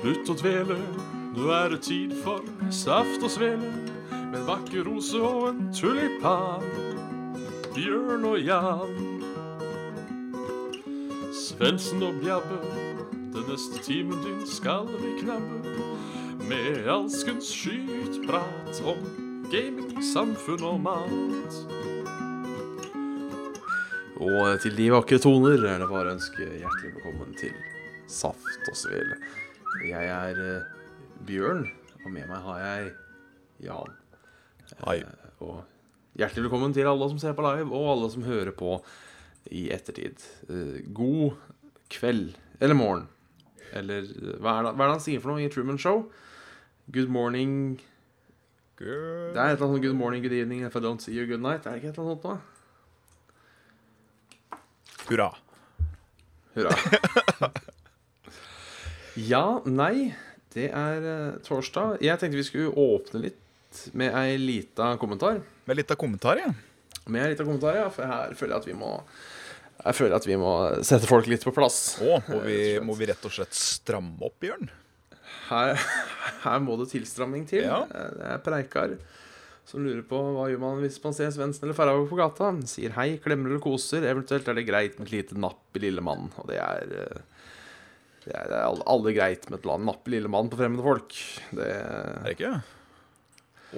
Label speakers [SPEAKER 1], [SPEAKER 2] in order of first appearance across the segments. [SPEAKER 1] Slutt å dvele, nå er det tid for saft og svele. Med en vakker rose og en tulipan. Bjørn og Jan. Svendsen og Bjabbe, den neste timen din skal vi knabbe. Med alskens skytprat om gaming, samfunn og mat.
[SPEAKER 2] Og til de vakre toner er det bare å ønske hjertelig velkommen til Saft og Svele. Jeg er eh, Bjørn, og med meg har jeg Jan.
[SPEAKER 3] Hei.
[SPEAKER 2] Og hjertelig velkommen til alle som ser på live, og alle som hører på i ettertid. Eh, God kveld, eller morgen, eller eh, hva er det hva er det han sier for noe i Truman Show? Good morning Det er et eller annet sånn good morning, good evening, if I don't see you, good night. Er det ikke et eller annet sånt nå?
[SPEAKER 3] Hurra.
[SPEAKER 2] Hurra. ja, nei, det er eh, torsdag. Jeg tenkte vi skulle åpne litt med ei lita kommentar.
[SPEAKER 3] Med litt av kommentar, ja.
[SPEAKER 2] Med ei lita kommentar, ja, for her føler jeg at vi må jeg føler at vi må sette folk litt på plass.
[SPEAKER 3] Å, må vi, må vi rett og slett stramme opp, Bjørn?
[SPEAKER 2] Her, her må det tilstramming til.
[SPEAKER 3] Ja.
[SPEAKER 2] Eh, Det er Preikar som lurer på hva gjør man hvis man ser Svendsen eller Farhaug på gata. Sier hei, klemmer eller koser. Eventuelt er det greit med et lite napp i lille mann. Og det er eh, Det er, det er alle, alle greit med et la- napp i lille mann på fremmede folk. Det
[SPEAKER 3] Er det ikke?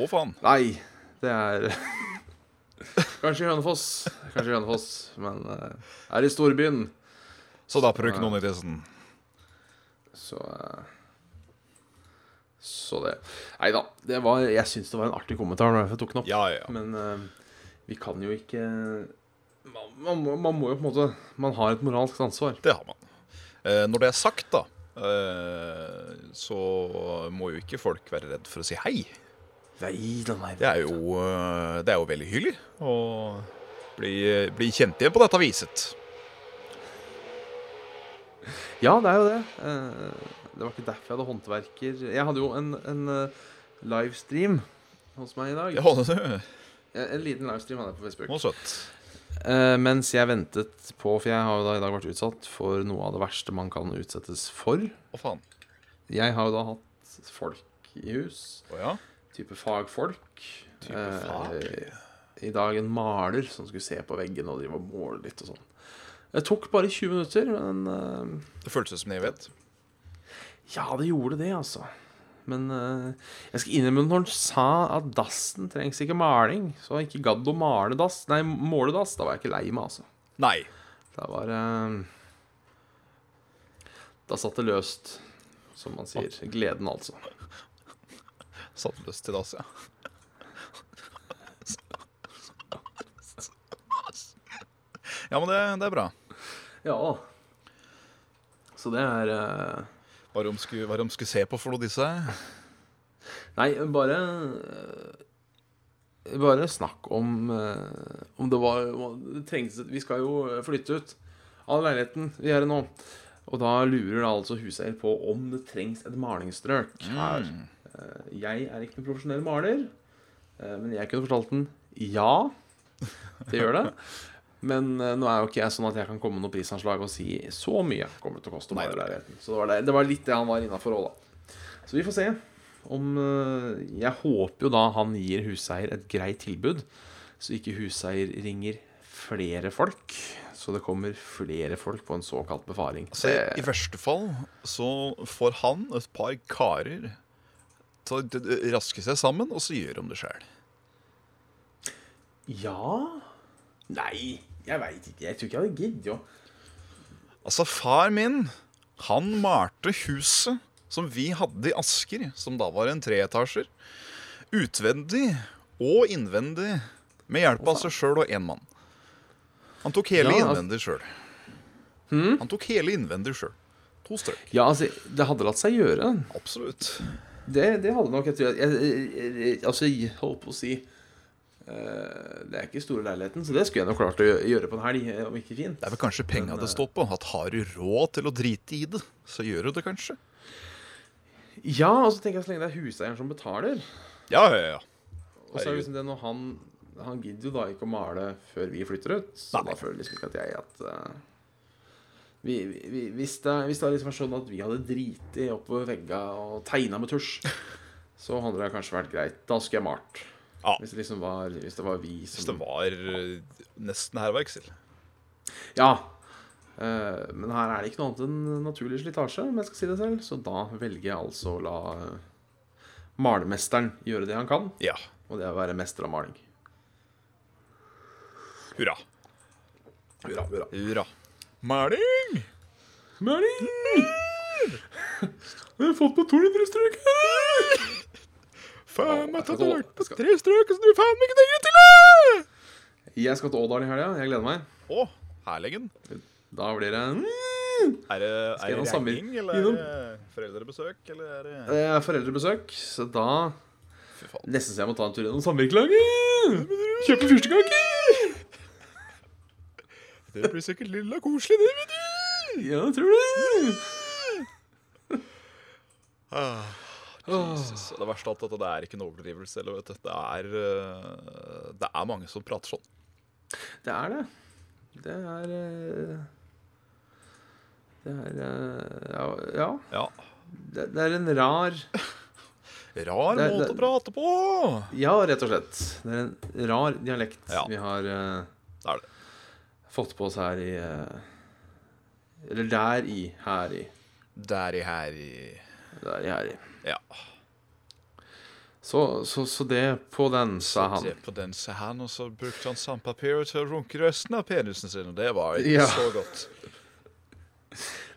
[SPEAKER 3] Å, faen.
[SPEAKER 2] Nei, det er Kanskje i Hønefoss. Kanskje i Hønefoss, men eh, er i storbyen,
[SPEAKER 3] Så da prøver ikke noen i tissen.
[SPEAKER 2] så eh, Så det. Nei da. Det var, jeg syns det var en artig kommentar, når jeg tok den opp.
[SPEAKER 3] Ja, ja.
[SPEAKER 2] Men eh, vi kan jo ikke man, man, må- man må jo på en måte Man har et moralsk ansvar.
[SPEAKER 3] Det har man. Eh, når det er sagt, da, eh, så må jo ikke folk være redd for å si hei.
[SPEAKER 2] Nei da, nei.
[SPEAKER 3] Det er jo, eh, det er jo veldig hyggelig å bli, bli kjent igjen på dette viset.
[SPEAKER 2] Ja, det er jo det. Eh, det var ikke derfor jeg hadde håndverker. Jeg hadde jo en, en eh, livestream hos meg i dag. Eh,
[SPEAKER 3] Ja, det
[SPEAKER 2] En, en liten livestream hadde jeg på Facebook.
[SPEAKER 3] var søtt.
[SPEAKER 2] Eh, mens jeg ventet på For jeg har jo da i dag vært utsatt for noe av det verste man kan utsettes for.
[SPEAKER 3] Å, faen.
[SPEAKER 2] Jeg har jo da hatt folk i hus.
[SPEAKER 3] Å ja.
[SPEAKER 2] Type fagfolk.
[SPEAKER 3] Type fag?
[SPEAKER 2] Eh, I dag en maler som skulle se på veggen og drive og måle litt og sånn. Det tok bare 20 minutter, men eh,
[SPEAKER 3] Det føltes som en evighet.
[SPEAKER 2] Ja, det gjorde det, altså. Men eh, jeg skal innrømme at når han sa at dassen trengs ikke maling, så han ikke gadd å male dass, nei, måle dass, da var jeg ikke lei meg, altså.
[SPEAKER 3] Nei.
[SPEAKER 2] Da var det Da satt det løst, som man sier. Gleden, altså.
[SPEAKER 3] Satt løs til dass, ja. Ja, men det, det er bra.
[SPEAKER 2] Ja. Så det er eh,
[SPEAKER 3] Hva er det de skulle, hva er det de skulle se på for noe, disse?
[SPEAKER 2] Nei, bare eh, Bare snakk om eh, om det var om det trengtes, Vi skal jo eh, flytte ut av leiligheten vi er i nå. Og da lurer da altså huseier på om det trengs et malingsstrøk her.
[SPEAKER 3] Mm.
[SPEAKER 2] Eh, Jeg er ikke noen profesjonell maler, eh, men jeg kunne fortalt den ja. Det gjør det. Men eh, nå er jo ikke jeg sånn at jeg kan komme med noe prisanslag og si så mye kommer det til å koste å
[SPEAKER 3] Nei.
[SPEAKER 2] male leiligheten. Så det var, det, det var litt det han var innafor òg, da. Så vi får se om eh, Jeg håper jo da han gir huseier et greit tilbud, så ikke huseier ringer flere folk. Så det kommer flere folk på en såkalt befaring. Eh,
[SPEAKER 3] Altså, I verste fall så får han et par karer til å d- d- raske seg sammen, og så gjør de det sjøl.
[SPEAKER 2] Ja Nei, jeg veit ikke. Jeg tror ikke jeg hadde giddet jo.
[SPEAKER 3] Altså, far min, han malte huset som vi hadde i Asker, som da var en treetasjer, utvendig og innvendig, med hjelp av seg sjøl og én mann. Han tok hele
[SPEAKER 2] Ja, altså-
[SPEAKER 3] innvendig sjøl. Han tok hele innvendig sjøl. To strøk.
[SPEAKER 2] Ja, altså, det hadde latt seg gjøre.
[SPEAKER 3] Absolutt.
[SPEAKER 2] Det, det hadde nok jeg tror jeg, jeg, jeg, jeg, Altså, jeg holdt på å si eh, Det er ikke store leiligheten, så det skulle jeg nok klart å gjø- gjøre på en helg, eh, om ikke fint.
[SPEAKER 3] Det er vel kanskje penga det står på. At Har du råd til å drite i det, så gjør du det kanskje.
[SPEAKER 2] Ja, og så tenker jeg så lenge det er huseieren som betaler.
[SPEAKER 3] Ja, ja, ja.
[SPEAKER 2] Og så er det
[SPEAKER 3] Herregud.
[SPEAKER 2] liksom det når han Han gidder jo da ikke å male før vi flytter ut. Så
[SPEAKER 3] Nei.
[SPEAKER 2] da føler liksom ikke at jeg at eh, vi, vi- vi, hvis, det, hvis det hadde liksom vært sånn at vi hadde driti oppover vegga og tegna med tusj, så hadde det kanskje vært greit. Da skulle jeg malt.
[SPEAKER 3] Ja.
[SPEAKER 2] Hvis, det liksom var, hvis det var vi som
[SPEAKER 3] Hvis det var eh, nesten hærverk, Sild.
[SPEAKER 2] Ja. Eh, men her er det ikke noe annet enn naturlig slitasje, om jeg skal si det selv. Så da velger jeg altså å la eh, malermesteren gjøre det han kan,
[SPEAKER 3] Ja.
[SPEAKER 2] og det er å være mester av maling.
[SPEAKER 3] Hurra.
[SPEAKER 2] Hurra, hurra.
[SPEAKER 3] Hurra. Maling!
[SPEAKER 2] Maling! Jeg har fått på 200 strøk!
[SPEAKER 3] Faen meg
[SPEAKER 2] skal
[SPEAKER 3] tatt og
[SPEAKER 2] gå-
[SPEAKER 3] lagt på
[SPEAKER 2] jeg skal-
[SPEAKER 3] tre strøk, så du faen meg ikke trenger til det!
[SPEAKER 2] Jeg skal til Ådal i helga. Jeg gleder meg.
[SPEAKER 3] Å, herlegen.
[SPEAKER 2] Da blir det mm.
[SPEAKER 3] Er det,
[SPEAKER 2] Skal
[SPEAKER 3] er
[SPEAKER 2] jeg
[SPEAKER 3] det
[SPEAKER 2] ha samme-
[SPEAKER 3] regning, eller
[SPEAKER 2] innom?
[SPEAKER 3] er det foreldrebesøk, eller er det
[SPEAKER 2] eh, foreldrebesøk, så da
[SPEAKER 3] Fy faen.
[SPEAKER 2] Nesten så jeg må ta en tur gjennom samvirkelaget! Kjøpe fyrstekake!
[SPEAKER 3] Det blir sikkert lilla koselig, det, vet du.
[SPEAKER 2] Ja, jeg tror det.
[SPEAKER 3] Ah, Jesus. Det verste av alt er at det er ikke en overdrivelse. Eller, vet du. Det, er, eh, det er mange som prater sånn.
[SPEAKER 2] Det er det. Det er eh, Det er eh, ja- Ja.
[SPEAKER 3] Ja.
[SPEAKER 2] Det, det er en rar
[SPEAKER 3] Rar
[SPEAKER 2] Det-
[SPEAKER 3] måte
[SPEAKER 2] det-
[SPEAKER 3] å prate på!
[SPEAKER 2] Ja, rett og slett. Det er en rar dialekt
[SPEAKER 3] Ja.
[SPEAKER 2] vi har eh,
[SPEAKER 3] Det er det.
[SPEAKER 2] fått på oss her i eh, Eller der i. Her i.
[SPEAKER 3] Der i her i
[SPEAKER 2] Der i, her i.
[SPEAKER 3] Ja.
[SPEAKER 2] Så, så, så det på den, sa han.
[SPEAKER 3] Se på den se han, og så brukte han sandpapir til å runke resten av penisen sin, og det var ikke
[SPEAKER 2] Ja.
[SPEAKER 3] så godt.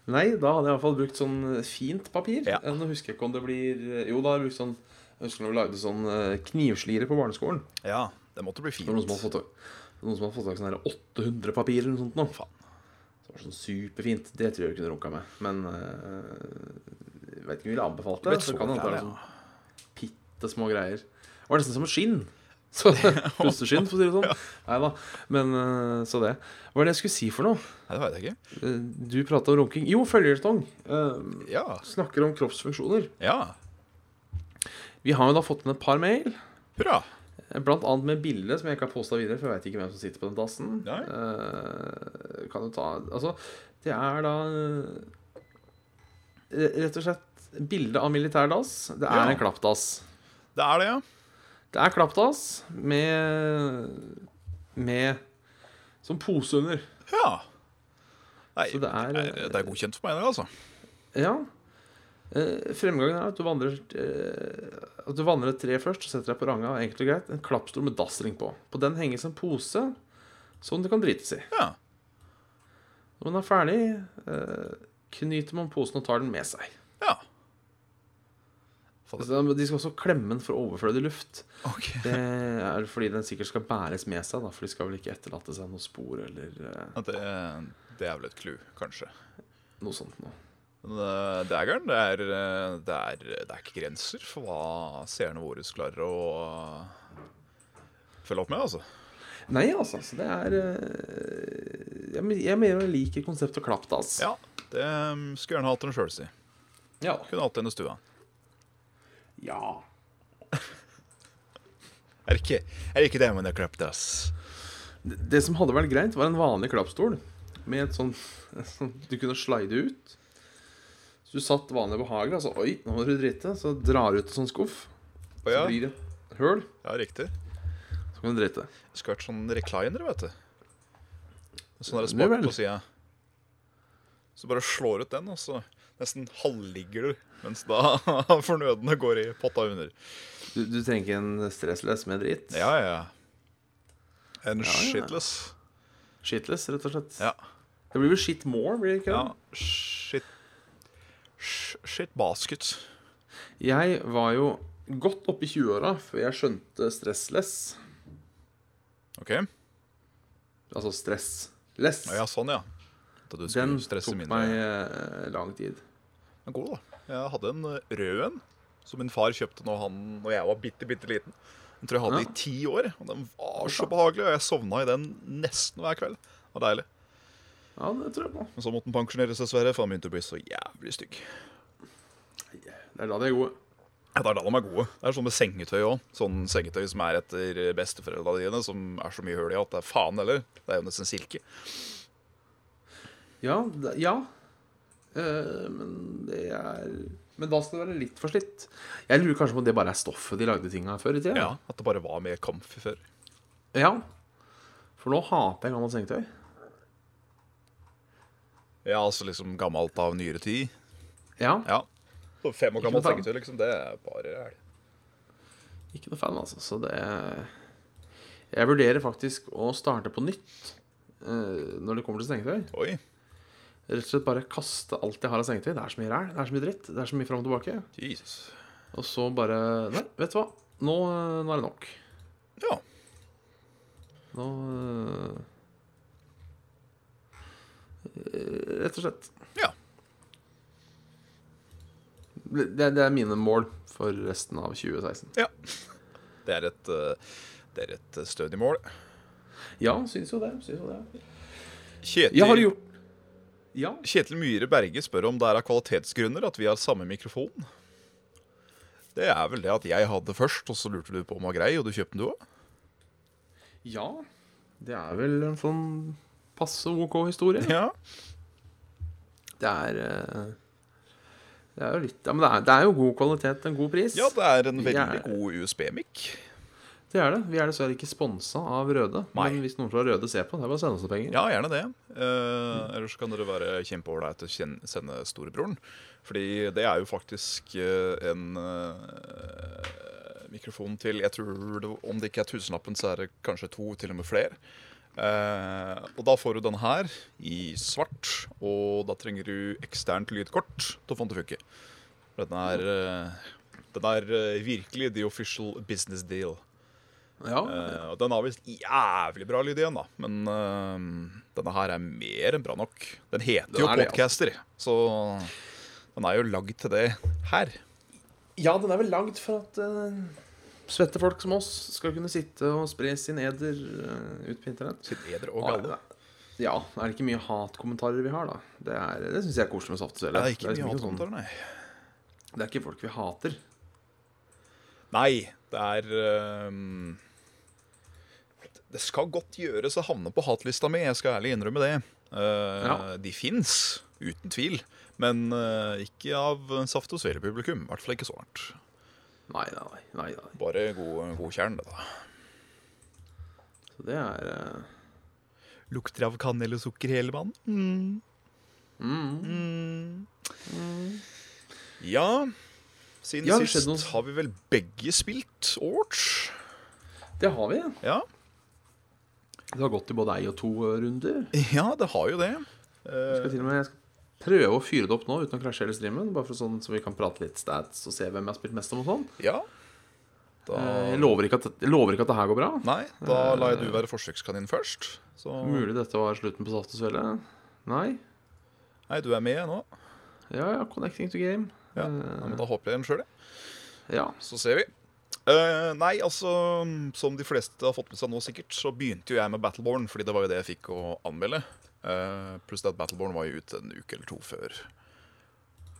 [SPEAKER 2] Nei, da hadde jeg i hvert fall brukt sånn fint papir.
[SPEAKER 3] Ja.
[SPEAKER 2] Eh, Nå husker jeg ikke om det blir Jo, da har jeg brukt sånn Jeg husker når vi lagde sånn eh, knivslire på barneskolen.
[SPEAKER 3] Ja, det måtte bli
[SPEAKER 2] Det
[SPEAKER 3] fint.
[SPEAKER 2] var noen som hadde fått tak noen som hadde fått tak i sånn her 800 papir eller noe sånt. Nå.
[SPEAKER 3] Faen.
[SPEAKER 2] Det var sånn superfint. Det tror jeg jeg kunne runka med. Men eh, jeg vet ikke om jeg ville anbefalt
[SPEAKER 3] Det
[SPEAKER 2] det.
[SPEAKER 3] ble
[SPEAKER 2] Så
[SPEAKER 3] så
[SPEAKER 2] kan det hende det
[SPEAKER 3] greier,
[SPEAKER 2] er sånn bitte små greier. Det var nesten som et skinn. Så, Pusteskinn, for å si det sånn. Nei da. Men eh, så det. Hva er det jeg skulle si for noe?
[SPEAKER 3] Nei, det veit jeg ikke.
[SPEAKER 2] Eh, Du prata om runking. Jo, følgetong. Eh,
[SPEAKER 3] Ja.
[SPEAKER 2] Snakker om kroppsfunksjoner.
[SPEAKER 3] ja.
[SPEAKER 2] Vi har jo da fått inn et par mail.
[SPEAKER 3] Hurra.
[SPEAKER 2] eh, Blant annet med bilde som jeg ikke har posta videre, for jeg veit ikke hvem som sitter på den dassen.
[SPEAKER 3] Nei.
[SPEAKER 2] Eh, kan du ta Altså, det er da eh, rett og slett bilde av militærdass. Det er
[SPEAKER 3] Ja.
[SPEAKER 2] en klappdass.
[SPEAKER 3] Det er det, ja.
[SPEAKER 2] Det er klappdass med med som pose under.
[SPEAKER 3] Ja. Nei,
[SPEAKER 2] Så det er, eh,
[SPEAKER 3] det er, det er godkjent for meg, det, altså.
[SPEAKER 2] Ja. Eh, fremgangen er at du vandrer eh, At du vandrer et tre først og setter deg på ranga. Enkelt og greit. En klappstol med dassring på. På den henges en pose som det kan drites i.
[SPEAKER 3] Ja.
[SPEAKER 2] Når man er ferdig, eh, knyter man posen og tar den med seg.
[SPEAKER 3] ja.
[SPEAKER 2] Så De skal også klemme den for overflødig luft.
[SPEAKER 3] Ok.
[SPEAKER 2] Det er fordi den sikkert skal bæres med seg, da, for de skal vel ikke etterlate seg noe spor eller eh,
[SPEAKER 3] Ja, Det, det er vel et clou, kanskje.
[SPEAKER 2] noe sånt noe.
[SPEAKER 3] Men eh, dageren, det er, eh, det, er, det er ikke grenser for hva seerne våre klarer å eh, følge opp med, altså.
[SPEAKER 2] Nei, altså. Så det er eh, Jeg, men- jeg mener jeg liker konseptet klappdass.
[SPEAKER 3] Ja, det eh, skulle gjerne hatt den sjøl, si.
[SPEAKER 2] ja.
[SPEAKER 3] Kunne hatt den i stua.
[SPEAKER 2] ja.
[SPEAKER 3] Er det ikke, er det, ikke det man har klept, ass?
[SPEAKER 2] Det som hadde vært greit, var en vanlig klappstol. Med et sånn sånn Du kunne slide ut. Så du satt vanlig på hagen, og så Oi, nå må du drite. Så drar du ut en sånn skuff.
[SPEAKER 3] Å ja.
[SPEAKER 2] Så blir det høl.
[SPEAKER 3] ja, riktig.
[SPEAKER 2] Så kan du drite.
[SPEAKER 3] Det skulle vært sånn recliner, vet du. Sånn er det
[SPEAKER 2] Det er
[SPEAKER 3] spart
[SPEAKER 2] vel.
[SPEAKER 3] på sida. Så bare slår ut den, og så nesten halvligger du. Mens da fornødne går i potta under.
[SPEAKER 2] Du, du trenger ikke en stressless med drit.
[SPEAKER 3] Ja, ja, ja. En
[SPEAKER 2] ja.
[SPEAKER 3] shitless.
[SPEAKER 2] Shitless, rett og slett.
[SPEAKER 3] Ja.
[SPEAKER 2] Det blir vel shit more, blir det ikke
[SPEAKER 3] ja.
[SPEAKER 2] det?
[SPEAKER 3] Shit sh- Shit basket.
[SPEAKER 2] Jeg var jo godt oppe i 20-åra før jeg skjønte stressless.
[SPEAKER 3] OK? Ja,
[SPEAKER 2] Altså stressless.
[SPEAKER 3] ja, sånn, ja. Da du
[SPEAKER 2] Den
[SPEAKER 3] skulle stresse
[SPEAKER 2] tok
[SPEAKER 3] mindre.
[SPEAKER 2] meg eh, lang tid.
[SPEAKER 3] Men god, da. Jeg hadde en eh, rød en som min far kjøpte når, han, når jeg var bitte, bitte liten. Den tror jeg hadde
[SPEAKER 2] Ja.
[SPEAKER 3] i ti år. Og den var så behagelig, og jeg sovna i den nesten hver kveld. Det var deilig.
[SPEAKER 2] Ja, det tror jeg på.
[SPEAKER 3] Men så måtte den pensjoneres, dessverre, for han begynte å bli så jævlig stygg.
[SPEAKER 2] Det er da de er gode.
[SPEAKER 3] Ja, Det er da de er gode. Det er sånn med sengetøy òg. Sånn sengetøy som er etter besteforeldra dine, som er så mye hull i at det er faen heller. Det er jo nesten silke.
[SPEAKER 2] Ja. det- ja. Eh, men det er Men da skal det være litt for slitt. Jeg lurer kanskje på om det bare er stoffet de lagde tinga før i tida.
[SPEAKER 3] Ja, At det bare var mer comfy før.
[SPEAKER 2] Ja. For nå hater jeg gammelt sengetøy.
[SPEAKER 3] Ja, altså liksom gammelt av nyere tid.
[SPEAKER 2] Ja,
[SPEAKER 3] Ja. Så fem år
[SPEAKER 2] Ikke
[SPEAKER 3] gammelt
[SPEAKER 2] noe faen.
[SPEAKER 3] sengetøy, liksom. Det er bare ræl.
[SPEAKER 2] ikke noe fan, altså. Så det Jeg vurderer faktisk å starte på nytt eh, når det kommer til sengetøy.
[SPEAKER 3] Oi.
[SPEAKER 2] Rett og slett bare kaste alt jeg har av sengetøy. Det er så mye ræl. Det er så mye dritt. Det er så mye fram og tilbake.
[SPEAKER 3] Jesus.
[SPEAKER 2] Og så bare Nei, vet du hva. Nå, eh, nå er det nok.
[SPEAKER 3] Ja.
[SPEAKER 2] Nå eh, Rett og slett.
[SPEAKER 3] Ja.
[SPEAKER 2] Det, det er mine mål for resten av 2016.
[SPEAKER 3] Det er et, eh, det er et stødig mål.
[SPEAKER 2] Ja, syns jo det. Syns jo det.
[SPEAKER 3] Kjetil,
[SPEAKER 2] Ja, har du gjort Ja.
[SPEAKER 3] Kjetil Myhre Berge spør om det er av kvalitetsgrunner at vi har samme mikrofon. Det er vel det at jeg hadde først, og så lurte du på om den var grei, og du kjøpte den du òg?
[SPEAKER 2] Ja. Det er vel en sånn passe OK historie.
[SPEAKER 3] Ja.
[SPEAKER 2] Det er eh, Det er jo litt Ja, men det er, det er jo god kvalitet til en god pris.
[SPEAKER 3] ja, det er en
[SPEAKER 2] Jeg-
[SPEAKER 3] veldig god USB-mic.
[SPEAKER 2] Det er det. Vi er dessverre ikke sponsa av Røde.
[SPEAKER 3] Nei.
[SPEAKER 2] Men hvis noen fra Røde ser på, det er bare å sende oss noen penger.
[SPEAKER 3] Ja, gjerne det. Eh, ellers kan dere være kjempeålreite og kjen- sende storebroren. Fordi det er jo faktisk eh, en eh, mikrofon til Jeg tror det, om det ikke er tusenlappen, så er det kanskje to, til og med flere. Eh, og da får du den her i svart, og da trenger du eksternt lydkort til å få den til å funke. For Den er, eh, den er eh, virkelig the official business deal.
[SPEAKER 2] Ja.
[SPEAKER 3] Eh, og den har visst jævlig bra lyd igjen, da. Men eh, denne her er mer enn bra nok. Den heter
[SPEAKER 2] Den
[SPEAKER 3] jo
[SPEAKER 2] er det,
[SPEAKER 3] Podcaster, så den er jo lagd til det her.
[SPEAKER 2] Ja, den er vel lagd for at eh, svette folk som oss skal kunne sitte og spre sin eder eh, ut på internett.
[SPEAKER 3] Sitt eder og galle.
[SPEAKER 2] Ja, er det ikke mye hatkommentarer vi har, da? Det, er- det syns jeg er koselig med saftsvele.
[SPEAKER 3] Det er ikke
[SPEAKER 2] liksom
[SPEAKER 3] mye
[SPEAKER 2] sånn-
[SPEAKER 3] hatkommentarer, nei.
[SPEAKER 2] det er ikke folk vi hater.
[SPEAKER 3] Nei, det er eh, Det skal godt gjøres å havne på hatlista mi, jeg skal ærlig innrømme det. Eh,
[SPEAKER 2] Ja.
[SPEAKER 3] De fins, uten tvil. Men eh, ikke av Saft og Svele-publikum. I hvert fall ikke så hardt.
[SPEAKER 2] Nei, nei, nei. nei, nei.
[SPEAKER 3] Bare god, god kjern, det, da.
[SPEAKER 2] Så det er eh,
[SPEAKER 3] Lukter av kanel og sukker hele mannen. Mm.
[SPEAKER 2] mm.
[SPEAKER 3] Ja, siden
[SPEAKER 2] Ja, det
[SPEAKER 3] sist
[SPEAKER 2] skjedde noe.
[SPEAKER 3] har vi vel begge spilt Orch?
[SPEAKER 2] Det har vi.
[SPEAKER 3] Ja.
[SPEAKER 2] Det har gått i både ei og to eh, runder.
[SPEAKER 3] ja, det har jo det.
[SPEAKER 2] Jeg skal til og med jeg skal prøve å fyre det opp nå uten å krasje hele streamen. Bare for sånn så vi kan prate litt stats og se hvem jeg har spilt mest om og sånn.
[SPEAKER 3] Ja. Da,
[SPEAKER 2] Eh, Jeg lover ikke at, jeg lover ikke at det her går bra.
[SPEAKER 3] nei, da lar jeg du være forsøkskanin først. Så
[SPEAKER 2] Mulig dette var slutten på Saft og Svele. Nei.
[SPEAKER 3] Nei, du er med nå.
[SPEAKER 2] Ja, ja, connecting to game.
[SPEAKER 3] Ja, ja men Da håper jeg den sjøl, jeg.
[SPEAKER 2] Ja.
[SPEAKER 3] Så ser vi. Eh, nei, altså Som de fleste har fått med seg nå, sikkert, så begynte jo jeg med Battleborn, fordi det var jo det jeg fikk å anmelde. Eh, pluss det at Battleborn var jo ute en uke eller to før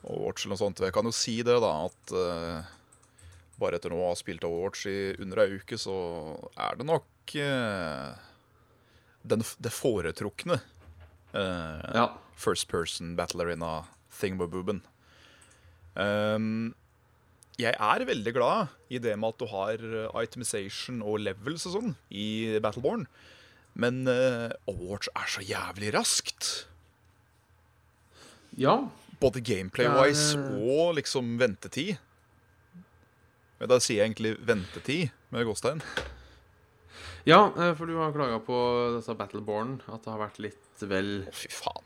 [SPEAKER 3] Overwatch eller noe sånt. Og Jeg kan jo si det, da, at eh, bare etter nå å ha spilt Overwatch i under ei uke, så er det nok eh, den, f- det foretrukne eh,
[SPEAKER 2] ja.
[SPEAKER 3] First Person Battle Arena Thingamabooben. Um, jeg er veldig glad i det med at du har eh, itemization og levels og sånn i Battleborn, men eh, Overwatch er så jævlig raskt.
[SPEAKER 2] Ja.
[SPEAKER 3] Både gameplay-wise
[SPEAKER 2] Det er-
[SPEAKER 3] og liksom ventetid. Men da sier jeg egentlig ventetid med gåstegn.
[SPEAKER 2] ja, eh, for du har klaga på disse Battleborn. At det har vært litt vel
[SPEAKER 3] Å, fy faen.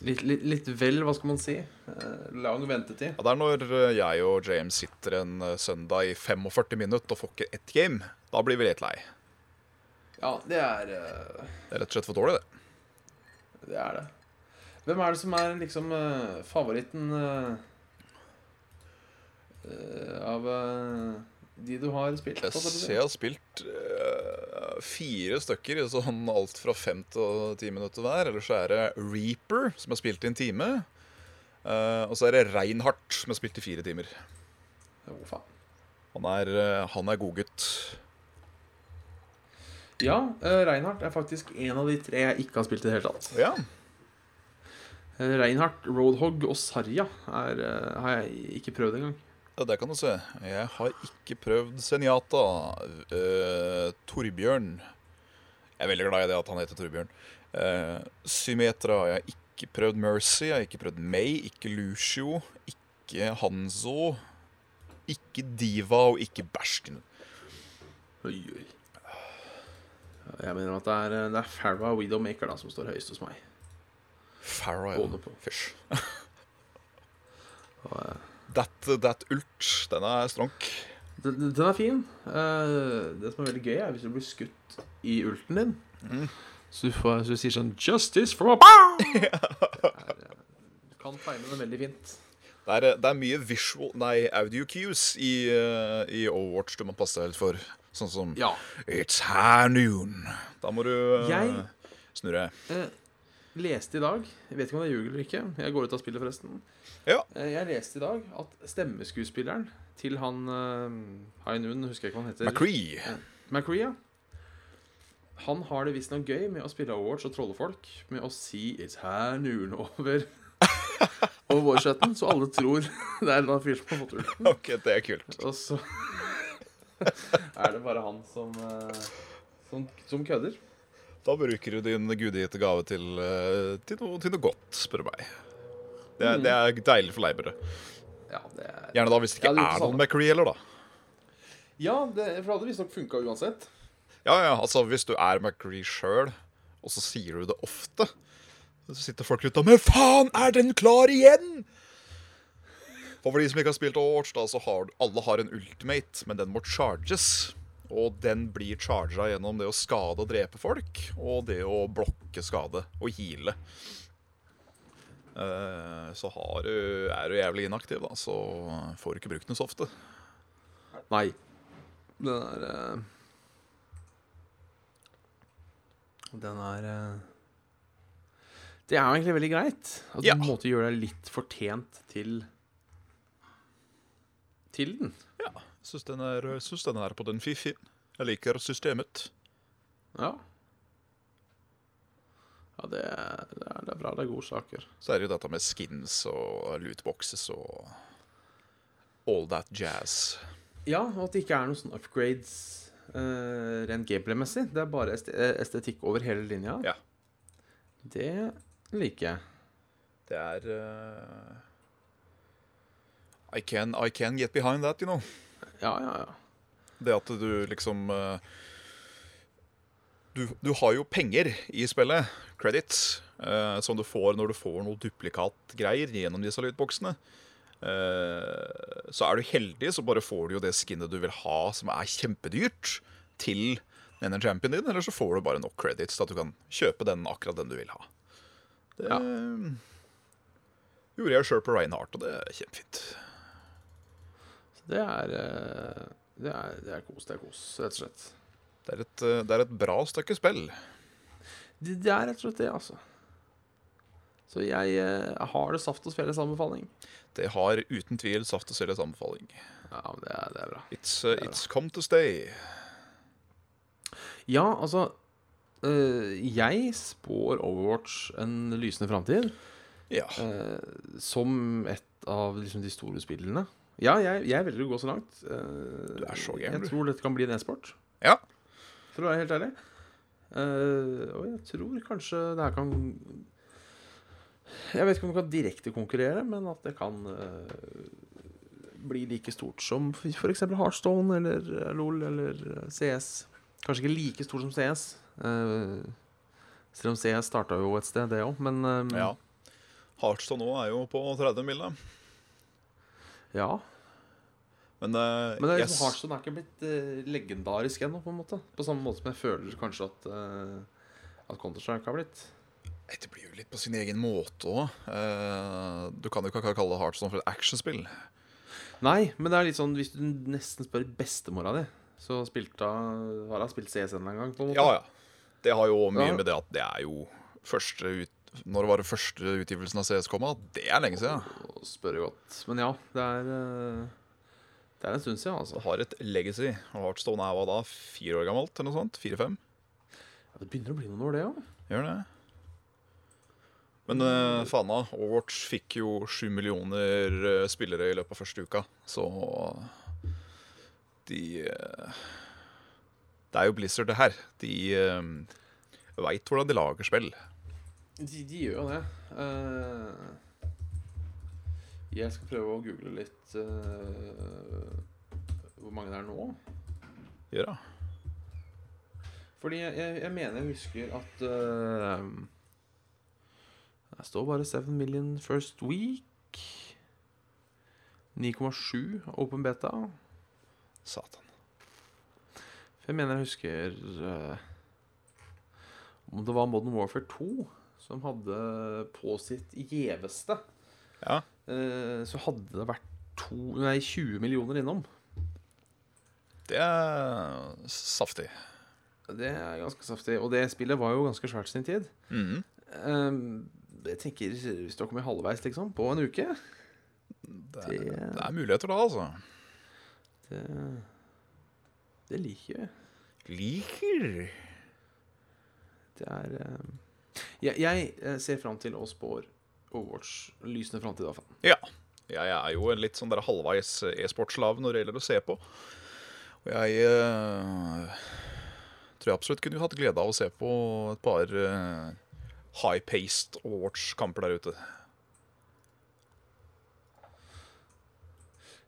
[SPEAKER 2] Litt, litt, litt vel, hva skal man si? Eh, Lang ventetid.
[SPEAKER 3] Ja, det er når eh, jeg og James sitter en eh, søndag i 45 minutter og får ikke ett game. Da blir vi litt lei.
[SPEAKER 2] Ja, det er eh,
[SPEAKER 3] Det er rett og slett for dårlig, det.
[SPEAKER 2] Det er det. Hvem er det som er liksom eh, favoritten eh, eh, av eh, de du har spilt?
[SPEAKER 3] Jeg
[SPEAKER 2] på, så å si?
[SPEAKER 3] ser jeg har spilt eh, fire stykker i sånn alt fra fem til ti minutter hver. Eller så er det Reaper, som har spilt i en time. Eh, og så er det Reinhardt, som har spilt i fire timer.
[SPEAKER 2] Å, faen.
[SPEAKER 3] Han er, uh, han er godgutt.
[SPEAKER 2] eh, Ja, uh, Reinhardt er faktisk en av de tre jeg ikke har spilt i det hele tatt.
[SPEAKER 3] Ja.
[SPEAKER 2] Eh, Reinhardt, Roadhog og Sarja er, eh, har jeg ikke prøvd engang.
[SPEAKER 3] Ja, Der kan du se. Jeg har ikke prøvd Senjata. Eh, Torbjørn. Jeg er veldig glad i det at han heter Torbjørn. Eh, Symmetra. Jeg har ikke prøvd Mercy. Jeg har ikke prøvd May. Ikke Lucio. Ikke Hanzo. Ikke Diva og ikke Bæsjken.
[SPEAKER 2] Oi, oi. Jeg mener at det er, eh, det er Farah Widowmaker da, som står høyest hos meg.
[SPEAKER 3] Farrow.
[SPEAKER 2] Både på.
[SPEAKER 3] Fysj.
[SPEAKER 2] Og, eh,
[SPEAKER 3] That, that Ult. Den er stronk.
[SPEAKER 2] Den, den- den er fin. Eh, det som er veldig gøy, er hvis du blir skutt i ulten din.
[SPEAKER 3] Mhm.
[SPEAKER 2] Så, du får, så du sier sånn 'Justice from a pow!' eh, Du kan time den veldig fint.
[SPEAKER 3] Det er, det er mye visual Nei, audio cues i, eh, i Overwatch du må passe deg helt for. Sånn som
[SPEAKER 2] Ja.
[SPEAKER 3] It's high noon. Da må du eh,
[SPEAKER 2] Jeg-
[SPEAKER 3] snurre.
[SPEAKER 2] Eh, leste i dag Jeg vet ikke om det er ljug eller ikke. Jeg går ut av spillet, forresten.
[SPEAKER 3] Ja.
[SPEAKER 2] Eh, jeg leste i dag at stemmeskuespilleren til han eh, High Noon, husker jeg ikke hva han heter.
[SPEAKER 3] McCree.
[SPEAKER 2] McCree, ja. Han har det visstnok gøy med å spille awards og trolle folk med å si 'It's her noon' over over voicechatten, så alle tror det er en eller annen fyr som har fått ulten.
[SPEAKER 3] Ok, det er kult.
[SPEAKER 2] Og så er det bare han som eh, som, som kødder.
[SPEAKER 3] Da bruker du din gudgitte gave til, eh, til, noe, til noe godt, spør du meg. Det
[SPEAKER 2] Mm.
[SPEAKER 3] er, det er deilig for leibere.
[SPEAKER 2] Ja, det er
[SPEAKER 3] Gjerne da hvis det
[SPEAKER 2] Ja,
[SPEAKER 3] ikke
[SPEAKER 2] det er
[SPEAKER 3] er
[SPEAKER 2] ikke sånn.
[SPEAKER 3] noen McCree heller, da.
[SPEAKER 2] Ja, det, for det hadde visstnok funka uansett.
[SPEAKER 3] Ja, ja, altså hvis du er McCree sjøl, og så sier du det ofte, så sitter folk ute og Men faen, er den klar igjen?! Og for de som ikke har spilt Overwatch, da, så har du- alle har en ultimate, men den må charges. Og den blir charga gjennom det å skade og drepe folk, og det å blokke skade og heale. Eh, Så har du, er du jævlig inaktiv, da, så får du ikke brukt den så ofte.
[SPEAKER 2] Nei. Den er eh, Den er eh, Det er jo egentlig veldig greit. At du
[SPEAKER 3] Ja.
[SPEAKER 2] på en måte gjør deg litt fortjent til Til den.
[SPEAKER 3] Ja, syns den er, syns den er på den fiffig. Jeg liker systemet.
[SPEAKER 2] Ja. Ja, det er, det er, det er bra. Det er gode saker.
[SPEAKER 3] Så er det jo dette med skins og lootboxes og all that jazz.
[SPEAKER 2] Ja, og at det ikke er noen sånne upgrades eh, rent gameplay-messig. Det er bare est eh, estetikk over hele linja.
[SPEAKER 3] Ja.
[SPEAKER 2] Det liker jeg.
[SPEAKER 3] Det er eh, I, can, I can get behind that, you know.
[SPEAKER 2] Ja, ja, ja.
[SPEAKER 3] Det at du liksom eh, du, du har jo penger i spillet, credits, eh, som du får når du får noe duplikatgreier gjennom disse lydboksene. Eh, så er du heldig, så bare får du jo det skinnet du vil ha, som er kjempedyrt, til denne championen din, eller så får du bare nok credits til at du kan kjøpe den akkurat den du vil ha. Det eh,
[SPEAKER 2] Ja.
[SPEAKER 3] gjorde jeg sjøl på Reinhardt, og det er kjempefint.
[SPEAKER 2] Så det er eh, Det er, det er kos, det er kos, rett og slett.
[SPEAKER 3] Det er et, eh, det er et bra stykke spill.
[SPEAKER 2] Det, det er rett og slett det, altså. Så jeg eh, har det saft og felles anbefaling.
[SPEAKER 3] Det har uten tvil saft og sylles anbefaling.
[SPEAKER 2] Ja, men det er, det er bra.
[SPEAKER 3] It's, uh, it's come to stay.
[SPEAKER 2] Ja, altså eh, Jeg spår Overwatch en lysende framtid
[SPEAKER 3] Ja.
[SPEAKER 2] eh, som et av liksom, de store spillene. Ja, jeg, jeg velger å gå så langt. Eh,
[SPEAKER 3] Du er så gæren, du.
[SPEAKER 2] Jeg tror dette kan bli en e-sport,
[SPEAKER 3] ja.
[SPEAKER 2] for å være helt ærlig. Eh, og jeg tror kanskje det her kan Jeg vet ikke om det kan direktekonkurrere, men at det kan eh, bli like stort som f.eks. Heartstone eller eh, LOL eller eh, CS. Kanskje ikke like stort som CS. eh, selv om CS starta jo et sted, det òg, men eh,
[SPEAKER 3] ja. Heartstone nå er jo på 30 mil, da.
[SPEAKER 2] ja.
[SPEAKER 3] Men, uh,
[SPEAKER 2] Men det er liksom,
[SPEAKER 3] yes.
[SPEAKER 2] Heartstone er ikke blitt eh, legendarisk ennå, på en måte. På samme måte som jeg føler kanskje at, uh, at Counter-Strike har blitt.
[SPEAKER 3] Nei, Det blir jo litt på sin egen måte òg. du kan jo ikke kalle det Heartstone for et actionspill.
[SPEAKER 2] Nei, men det er litt sånn hvis du nesten spør bestemora di, så spilte hun Har hun spilt CS en gang? på en måte?
[SPEAKER 3] Ja, ja. Det har jo mye
[SPEAKER 2] Ja.
[SPEAKER 3] med det at det er jo første ut... Når var det første utgivelsen av CS komma? Det er lenge siden.
[SPEAKER 2] Og spør jo godt. Men ja, det er eh, Det er en stund siden, altså.
[SPEAKER 3] Det har et legacy. Og Heartstone er hva da? Fire år gammelt, eller noe sånt? Fire-fem?
[SPEAKER 2] Ja, det begynner å bli noen år, det òg.
[SPEAKER 3] Gjør det? Men eh, fana, Overwatch fikk jo sju millioner eh, spillere i løpet av første uka, så de eh, Det er jo Blizzard, det her. De uh, veit hvordan de lager spill.
[SPEAKER 2] De, de gjør jo det. Eh, jeg skal prøve å google litt eh, hvor mange det er nå.
[SPEAKER 3] Gjør det.
[SPEAKER 2] Fordi jeg, jeg, jeg mener jeg husker at eh, Det står bare 7 million first week. 9,7 open beta.
[SPEAKER 3] Satan.
[SPEAKER 2] For jeg mener jeg husker eh, om det var Modern Warfare 2 som hadde på sitt gjeveste
[SPEAKER 3] Ja.
[SPEAKER 2] eh, Så hadde det vært to, nei, 20 millioner innom.
[SPEAKER 3] Det er saftig.
[SPEAKER 2] Det er ganske saftig. Og det spillet var jo ganske svært sin tid.
[SPEAKER 3] Mhm.
[SPEAKER 2] Ehm, jeg tenker Hvis du har kommet halvveis liksom, på en uke
[SPEAKER 3] Det, er,
[SPEAKER 2] Det-
[SPEAKER 3] det er muligheter da, altså.
[SPEAKER 2] Det, det liker jeg.
[SPEAKER 3] Liker.
[SPEAKER 2] Det er eh, jeg, jeg eh, ser fram til å spår Overwatch lysende framtid, iallfall.
[SPEAKER 3] Ja. Jeg er jo en litt sånn der halvveis e-sportslave når det gjelder å se på. Og jeg eh, tror jeg absolutt kunne hatt glede av å se på et par eh, high-paced Overwatch-kamper der ute.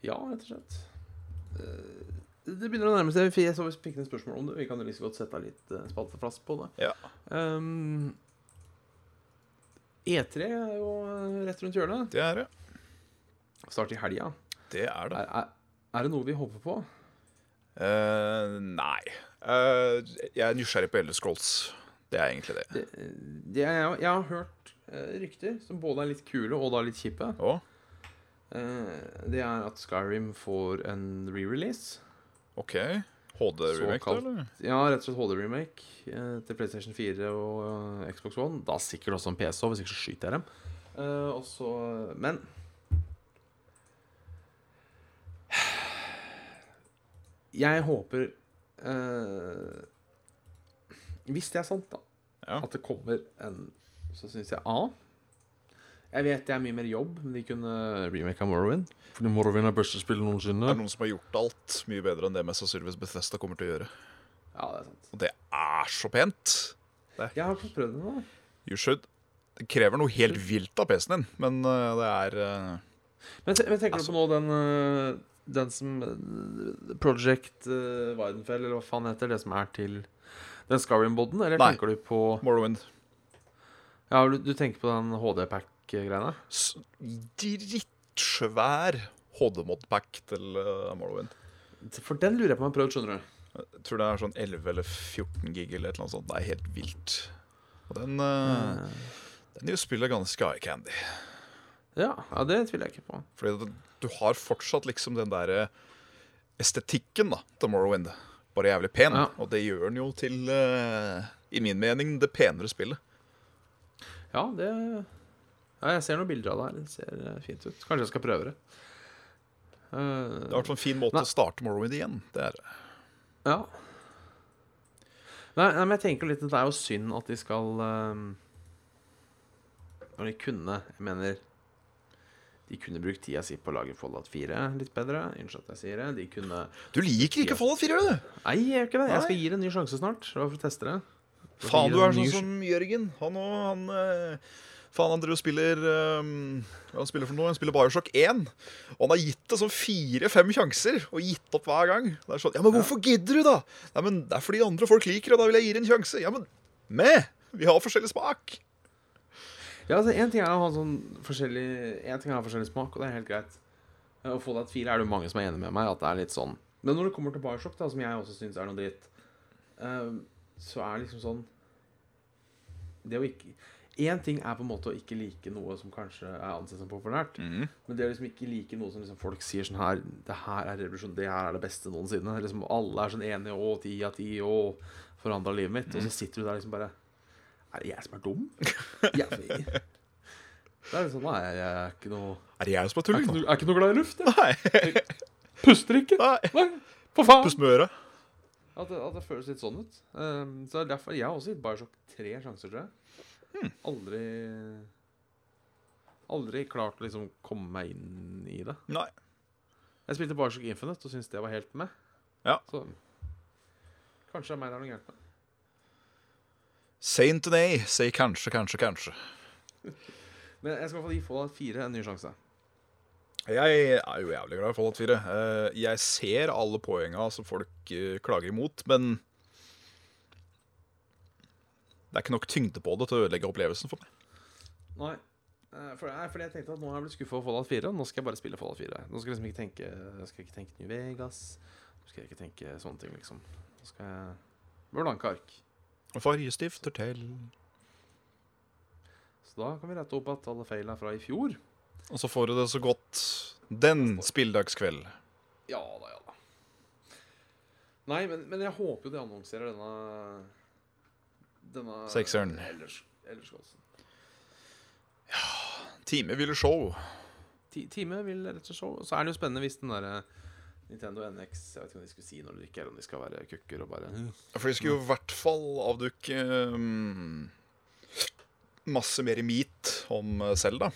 [SPEAKER 2] Ja, rett og slett. Eh, Det begynner å nærme seg. for Jeg så vi fikk et spørsmål om det. Vi kan jo like så godt sette av litt eh, spalteplass på det.
[SPEAKER 3] Ja.
[SPEAKER 2] Ehm, E3 er jo eh, rett rundt hjørnet.
[SPEAKER 3] Det er det.
[SPEAKER 2] Start i helga.
[SPEAKER 3] Det er det.
[SPEAKER 2] Er, er, er det noe vi håper på?
[SPEAKER 3] Eh, nei. Eh, jeg er nysgjerrig på Elder Scrolls. Det er egentlig det.
[SPEAKER 2] Det, eh, det er, jeg- jeg har hørt eh, rykter som både er litt kule og da litt kjipe.
[SPEAKER 3] Å,
[SPEAKER 2] Eh, Det er at Skyrim får en re-release.
[SPEAKER 3] OK. HD-remake,
[SPEAKER 2] Såkalt.
[SPEAKER 3] eller?
[SPEAKER 2] Ja, rett og slett HD-remake eh, til PlayStation 4 og eh, Xbox One. Da sikkert også en PC, hvis ikke så skyter jeg dem. Eh, og så- men Jeg håper eh, Hvis det er sant, da,
[SPEAKER 3] Ja.
[SPEAKER 2] at det kommer en Så syns jeg A. Jeg vet det er mye mer jobb, men de kunne remake av Morrowind. Fordi Morrowind er beste spillet
[SPEAKER 3] Det er
[SPEAKER 2] noensinne.
[SPEAKER 3] noen som har gjort alt mye bedre enn det mest sannsynligvis Bethesda kommer til å gjøre.
[SPEAKER 2] Ja, det er sant.
[SPEAKER 3] Og det er så pent.
[SPEAKER 2] Jeg har fått prøvd det nå.
[SPEAKER 3] You should. Det krever noe helt vilt av PC-en din, men eh, det er eh,
[SPEAKER 2] Men, te- men tenker
[SPEAKER 3] Altså-
[SPEAKER 2] du på nå den øh, Den som øh, Project øh, Weidenfeld, eller hva faen heter det som er til den Scarrim-boden? Eller
[SPEAKER 3] Nei.
[SPEAKER 2] tenker du på
[SPEAKER 3] Morrowind.
[SPEAKER 2] Ja, du, du tenker på den HD-pack-greiene?
[SPEAKER 3] S- Drittsvær HD-modpack til eh, Morrowind.
[SPEAKER 2] For den lurer jeg på om jeg har prøvd, skjønner du.
[SPEAKER 3] Jeg tror det er sånn 11 eller 14 gig eller et eller annet sånt. Det er helt vilt. Og den,
[SPEAKER 2] Mm.
[SPEAKER 3] eh, den gjør spillet ganske eye candy.
[SPEAKER 2] Ja, ja, det tviler jeg ikke på.
[SPEAKER 3] Fordi det- du har fortsatt liksom den derre estetikken da, til Morrowind. Bare jævlig pen.
[SPEAKER 2] Ja.
[SPEAKER 3] Og det gjør den jo til, eh, i min mening, det penere spillet.
[SPEAKER 2] Ja, det ja, Jeg ser noen bilder av det her. Det ser øh, fint ut. Kanskje jeg skal prøve det. Øh,
[SPEAKER 3] Det har vært en fin måte
[SPEAKER 2] Nei.
[SPEAKER 3] å starte Morrowind igjen. Det er det.
[SPEAKER 2] Ja. Nei, nei, men jeg tenker litt at det er jo synd at de skal ehm, Når de kunne Jeg mener De kunne brukt tida si på å lage Fallout 4 litt bedre. Unnskyld at jeg sier det. De kunne
[SPEAKER 3] Du liker
[SPEAKER 2] Ja.
[SPEAKER 3] ikke Fallout 4, du!
[SPEAKER 2] Nei, jeg gjør ikke det. Jeg skal
[SPEAKER 3] Nei.
[SPEAKER 2] gi det en ny sjanse snart. Det var for å teste det.
[SPEAKER 3] Faen,
[SPEAKER 2] gir
[SPEAKER 3] du
[SPEAKER 2] det
[SPEAKER 3] er
[SPEAKER 2] en ny
[SPEAKER 3] sånn som Jørgen. Han òg, han eh, Faen, han driver og spiller ehm, Hva han spiller for noe? Han spiller Bioshock 1. Og han har gitt det sånn fire-fem sjanser, og gitt opp hver gang. Det er sånn Ja, men hvorfor gidder du, da? Nei, men det er fordi andre folk liker det, og da vil jeg gi det en sjanse. Ja, men med! Vi har forskjellig smak.
[SPEAKER 2] Ja, altså, en ting er å ha sånn forskjellig En ting er å ha forskjellig smak, og det er helt greit. Eh, Og Fallout 4 er det jo mange som er enig med meg at det er litt sånn. Men når det kommer til Bioshock, da, som jeg også syns er noe dritt, eh, så er det liksom sånn Det å ikke Én ting er på en måte å ikke like noe som kanskje er ansett som populært, men det å liksom ikke like noe som liksom folk sier sånn her Det her er revolusjon, det her er det beste noensinne. Liksom Alle er sånn enige, å, ti av ti, å Forandra livet mitt. Og så sitter du der liksom bare Er det jeg som er dum? Jeg, det er litt sånn Nei, jeg er ikke noe
[SPEAKER 3] Er det jeg
[SPEAKER 2] Jeg
[SPEAKER 3] som er
[SPEAKER 2] er
[SPEAKER 3] tulling
[SPEAKER 2] ikke
[SPEAKER 3] nå?
[SPEAKER 2] noe, jeg er ikke noe glad i luft, jeg.
[SPEAKER 3] Nei.
[SPEAKER 2] Puster ikke.
[SPEAKER 3] Nei.
[SPEAKER 2] Nei, for faen.
[SPEAKER 3] Pust med øret.
[SPEAKER 2] At det, at det føles litt sånn Hmm. ut. Um, så det er derfor jeg har også gitt Bioshock tre sjanser, tror jeg. Aldri Aldri klart å liksom komme meg inn i det.
[SPEAKER 3] Nei.
[SPEAKER 2] Jeg spilte Bioshock Infinite og syntes det var helt med.
[SPEAKER 3] Ja.
[SPEAKER 2] Så kanskje det er meg det er noe gærent med.
[SPEAKER 3] Saint Nay sier kanskje, kanskje, kanskje.
[SPEAKER 2] Men jeg skal i hvert fall gi Fallout 4 en ny sjanse.
[SPEAKER 3] Jeg er jo jævlig glad i Fallout 4. Eh, Jeg ser alle poenga som folk eh, klager imot, men det er ikke nok tyngde på det til å ødelegge opplevelsen for meg.
[SPEAKER 2] Nei. eh, For, nei, fordi jeg tenkte at nå har jeg blitt skuffa over Fallout 4. Nå skal jeg bare spille Fallout 4. Nå skal jeg liksom ikke tenke Nå skal jeg ikke tenke New Vegas. Nå skal jeg ikke tenke sånne ting, liksom. Nå skal jeg Blanke ark.
[SPEAKER 3] Fargestifter til
[SPEAKER 2] Så da kan vi rette opp at alle feila fra i fjor.
[SPEAKER 3] Og så får du det så godt den spilledagskvelden.
[SPEAKER 2] Ja da, ja da. Nei, men, men jeg håper jo de annonserer denne Denne
[SPEAKER 3] Sekseren.
[SPEAKER 2] Ellers, ellers også.
[SPEAKER 3] Timeville show.
[SPEAKER 2] Ti, time vil rett og slett show. Så er det jo spennende hvis den derre Nintendo NX Jeg vet ikke om de skulle si noe eller ikke, eller om de skal være kukker og bare
[SPEAKER 3] For de skulle jo i hvert fall avduke um, masse mer meat om eh, Selda.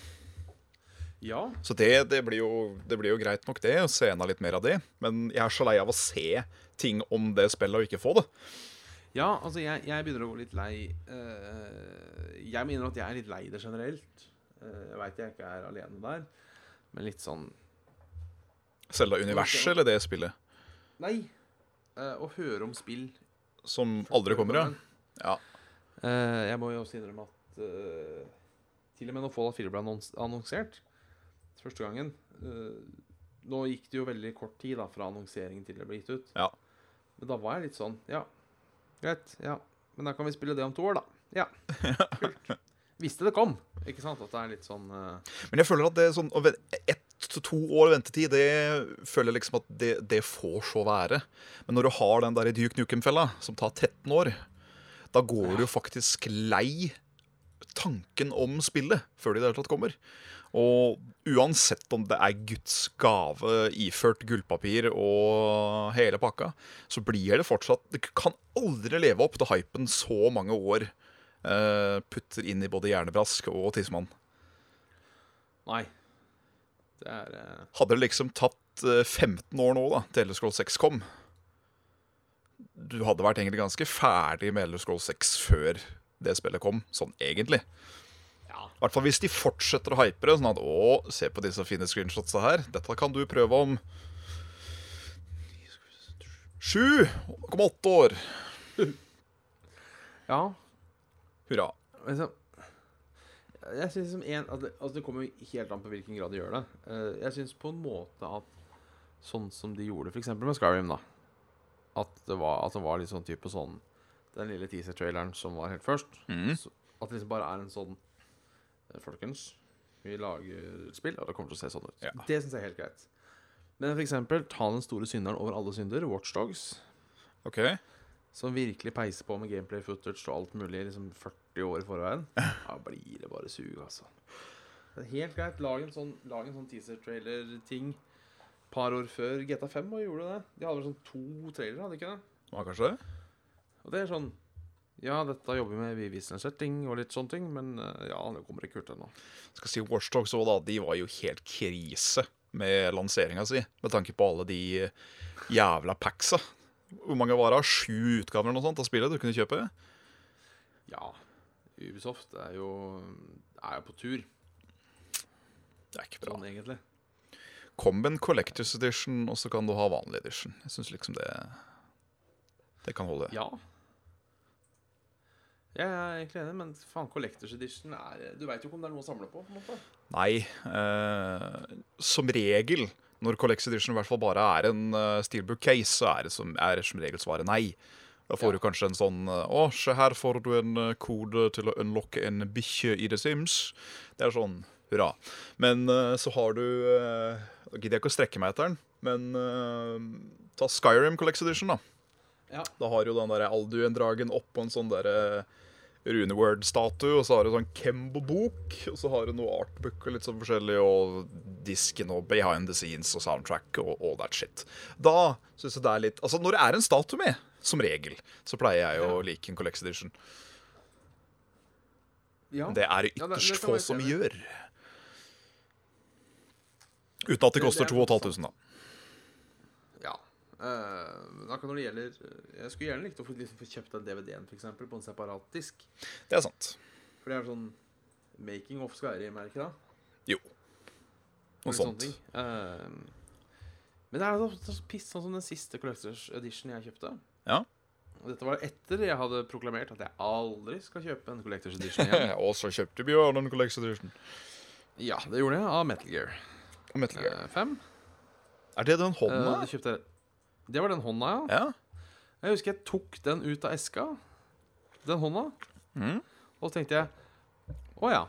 [SPEAKER 2] Ja.
[SPEAKER 3] Så det, det, blir jo, det blir jo greit nok, det. Å se enda litt mer av det. Men jeg er så lei av å se ting om det spillet og ikke få det.
[SPEAKER 2] Ja, altså, jeg, jeg begynner å gå litt lei eh, Jeg mener at jeg er litt lei det generelt. Eh, jeg veit jeg ikke er alene der, men litt sånn
[SPEAKER 3] Selda-universet eller det spillet
[SPEAKER 2] Nei. Eh, å høre om spill
[SPEAKER 3] som aldri kommer, ja. Ja.
[SPEAKER 2] Eh, jeg må jo også innrømme at eh, til og med når Fallout 4 ble annons annonsert første gangen eh, Nå gikk det jo veldig kort tid da fra annonseringen til det ble gitt ut.
[SPEAKER 3] Ja.
[SPEAKER 2] Men da var jeg litt sånn Ja, greit. Ja. Men da kan vi spille det om to år, da. Ja. Kult. Visste det kom. Ikke sant? At det er litt sånn eh,
[SPEAKER 3] Men jeg føler at det er sånn å ven- ett til to år ventetid, det føler jeg liksom at det, det får så være. Men når du har den der i Duke Nukem-fella, som tar 13 år, da går du jo faktisk lei tanken om spillet før det i det hele tatt kommer. Og uansett om det er Guds gave iført gullpapir og hele pakka, så blir det fortsatt Det kan aldri leve opp til hypen så mange år eh, putter inn i både hjernebrask og tissemann.
[SPEAKER 2] Nei. Det er eh,
[SPEAKER 3] Hadde det liksom tatt eh, 15 år nå, da, til Elder Scrolls 6 kom Du hadde vært egentlig ganske ferdig med Elder Scrolls 6 før det spillet kom, sånn egentlig.
[SPEAKER 2] Ja.
[SPEAKER 3] I hvert fall hvis de fortsetter å hype det, sånn at Å, se på disse fine screenshotsa her. Dette kan du prøve om 7,8 år.
[SPEAKER 2] ja.
[SPEAKER 3] Hurra.
[SPEAKER 2] Altså, jeg synes som en, at det, altså det kommer jo helt an på hvilken grad de gjør det. Eh, Jeg syns på en måte at sånn som de gjorde f.eks. med Skyrim, da At det var, at det var litt sånn type sånn Den lille teaser-traileren som var helt først.
[SPEAKER 3] Mhm.
[SPEAKER 2] Så, at det liksom bare er en sånn eh, Folkens, vi lager spill, og det kommer til å se sånn ut.
[SPEAKER 3] Ja.
[SPEAKER 2] Det syns jeg er helt greit. Men f.eks. ta den store synderen over alle synder, Watchdogs.
[SPEAKER 3] OK.
[SPEAKER 2] Som virkelig peiser på med gameplay footage og alt mulig liksom 40 år i forveien. Da blir det bare sug, altså. Det er helt greit. Lag en sånn, lag en sånn teaser-trailer-ting par år før GTA5 og gjorde det. De hadde vel sånn to trailere, hadde de ikke det?
[SPEAKER 3] Hva kanskje det?
[SPEAKER 2] Og det er sånn Ja, dette jobber vi med vi viser en setting og litt sånne ting, men eh, ja, det kommer ikke ut ennå.
[SPEAKER 3] Skal si Watchdogs òg, da. De var jo helt krise med lanseringa si. Med tanke på alle de eh, jævla packsa. Hvor mange var det? Sju utgaver eller noe sånt av spillet du kunne kjøpe?
[SPEAKER 2] Ja, Ubisoft er jo, er jo på tur,
[SPEAKER 3] Det er ikke bra.
[SPEAKER 2] sånn egentlig.
[SPEAKER 3] Kom med en Collectors Edition, og så kan du ha vanlig edition. Jeg syns liksom det Det kan holde.
[SPEAKER 2] Ja. Jeg er egentlig enig, men faen, Collectors Edition er Du veit jo ikke om det er noe å samle på. på en måte.
[SPEAKER 3] Nei. Eh, som regel, når Collectors Edition i hvert fall bare er en eh, steelbook case, så er det som, er som regel svaret nei. Da får
[SPEAKER 2] Ja.
[SPEAKER 3] du kanskje en sånn eh, Å, se her får du en eh, kode til å unlocke en bikkje i The Sims. Det er sånn hurra. Men eh, så har du eh, Da gidder jeg ikke å strekke meg etter den, men eh, ta Skyrim Collectors Edition, da.
[SPEAKER 2] Ja.
[SPEAKER 3] Da har du den der Alduen-dragen oppå en sånn der Runeword-statue, og så har du sånn Kembo-bok, og så har du noe artbook og litt sånn forskjellig, og disken og behind the scenes og soundtrack og all that shit. Da syns jeg det er litt Altså, når det er en statue med, som regel, så pleier jeg jo å like en Collects Edition.
[SPEAKER 2] ja.
[SPEAKER 3] Men det er det
[SPEAKER 2] Ja, det- det
[SPEAKER 3] ytterst
[SPEAKER 2] kan
[SPEAKER 3] få
[SPEAKER 2] jeg se
[SPEAKER 3] som
[SPEAKER 2] det.
[SPEAKER 3] gjør. Uten at det koster 2500, da.
[SPEAKER 2] Ja. Eh, men akkurat når det gjelder Jeg skulle gjerne likt å få, liksom, få kjøpt den DVD-en for eksempel, på en separat disk.
[SPEAKER 3] Det er sant.
[SPEAKER 2] For det er sånn Making of Skyrim, er det ikke det?
[SPEAKER 3] Jo. Noe
[SPEAKER 2] Eller sånne
[SPEAKER 3] sånt.
[SPEAKER 2] ting. Eh, men det er så, så piss, sånn som den siste Collectors Edition jeg kjøpte.
[SPEAKER 3] Ja.
[SPEAKER 2] Og dette var etter jeg hadde proklamert at jeg aldri skal kjøpe en Collectors Edition igjen.
[SPEAKER 3] Og så kjøpte Bjørn en Collection Edition.
[SPEAKER 2] ja, det gjorde jeg av Metal Gear
[SPEAKER 3] Og Metal
[SPEAKER 2] eh,
[SPEAKER 3] Gear.
[SPEAKER 2] 5.
[SPEAKER 3] Er det den
[SPEAKER 2] Eh,
[SPEAKER 3] hånda?
[SPEAKER 2] det, kjøpte, jeg- det var den hånda, ja.
[SPEAKER 3] Ja.
[SPEAKER 2] Jeg husker jeg tok den ut av eska, den hånda,
[SPEAKER 3] Mm.
[SPEAKER 2] og så tenkte jeg Å ja.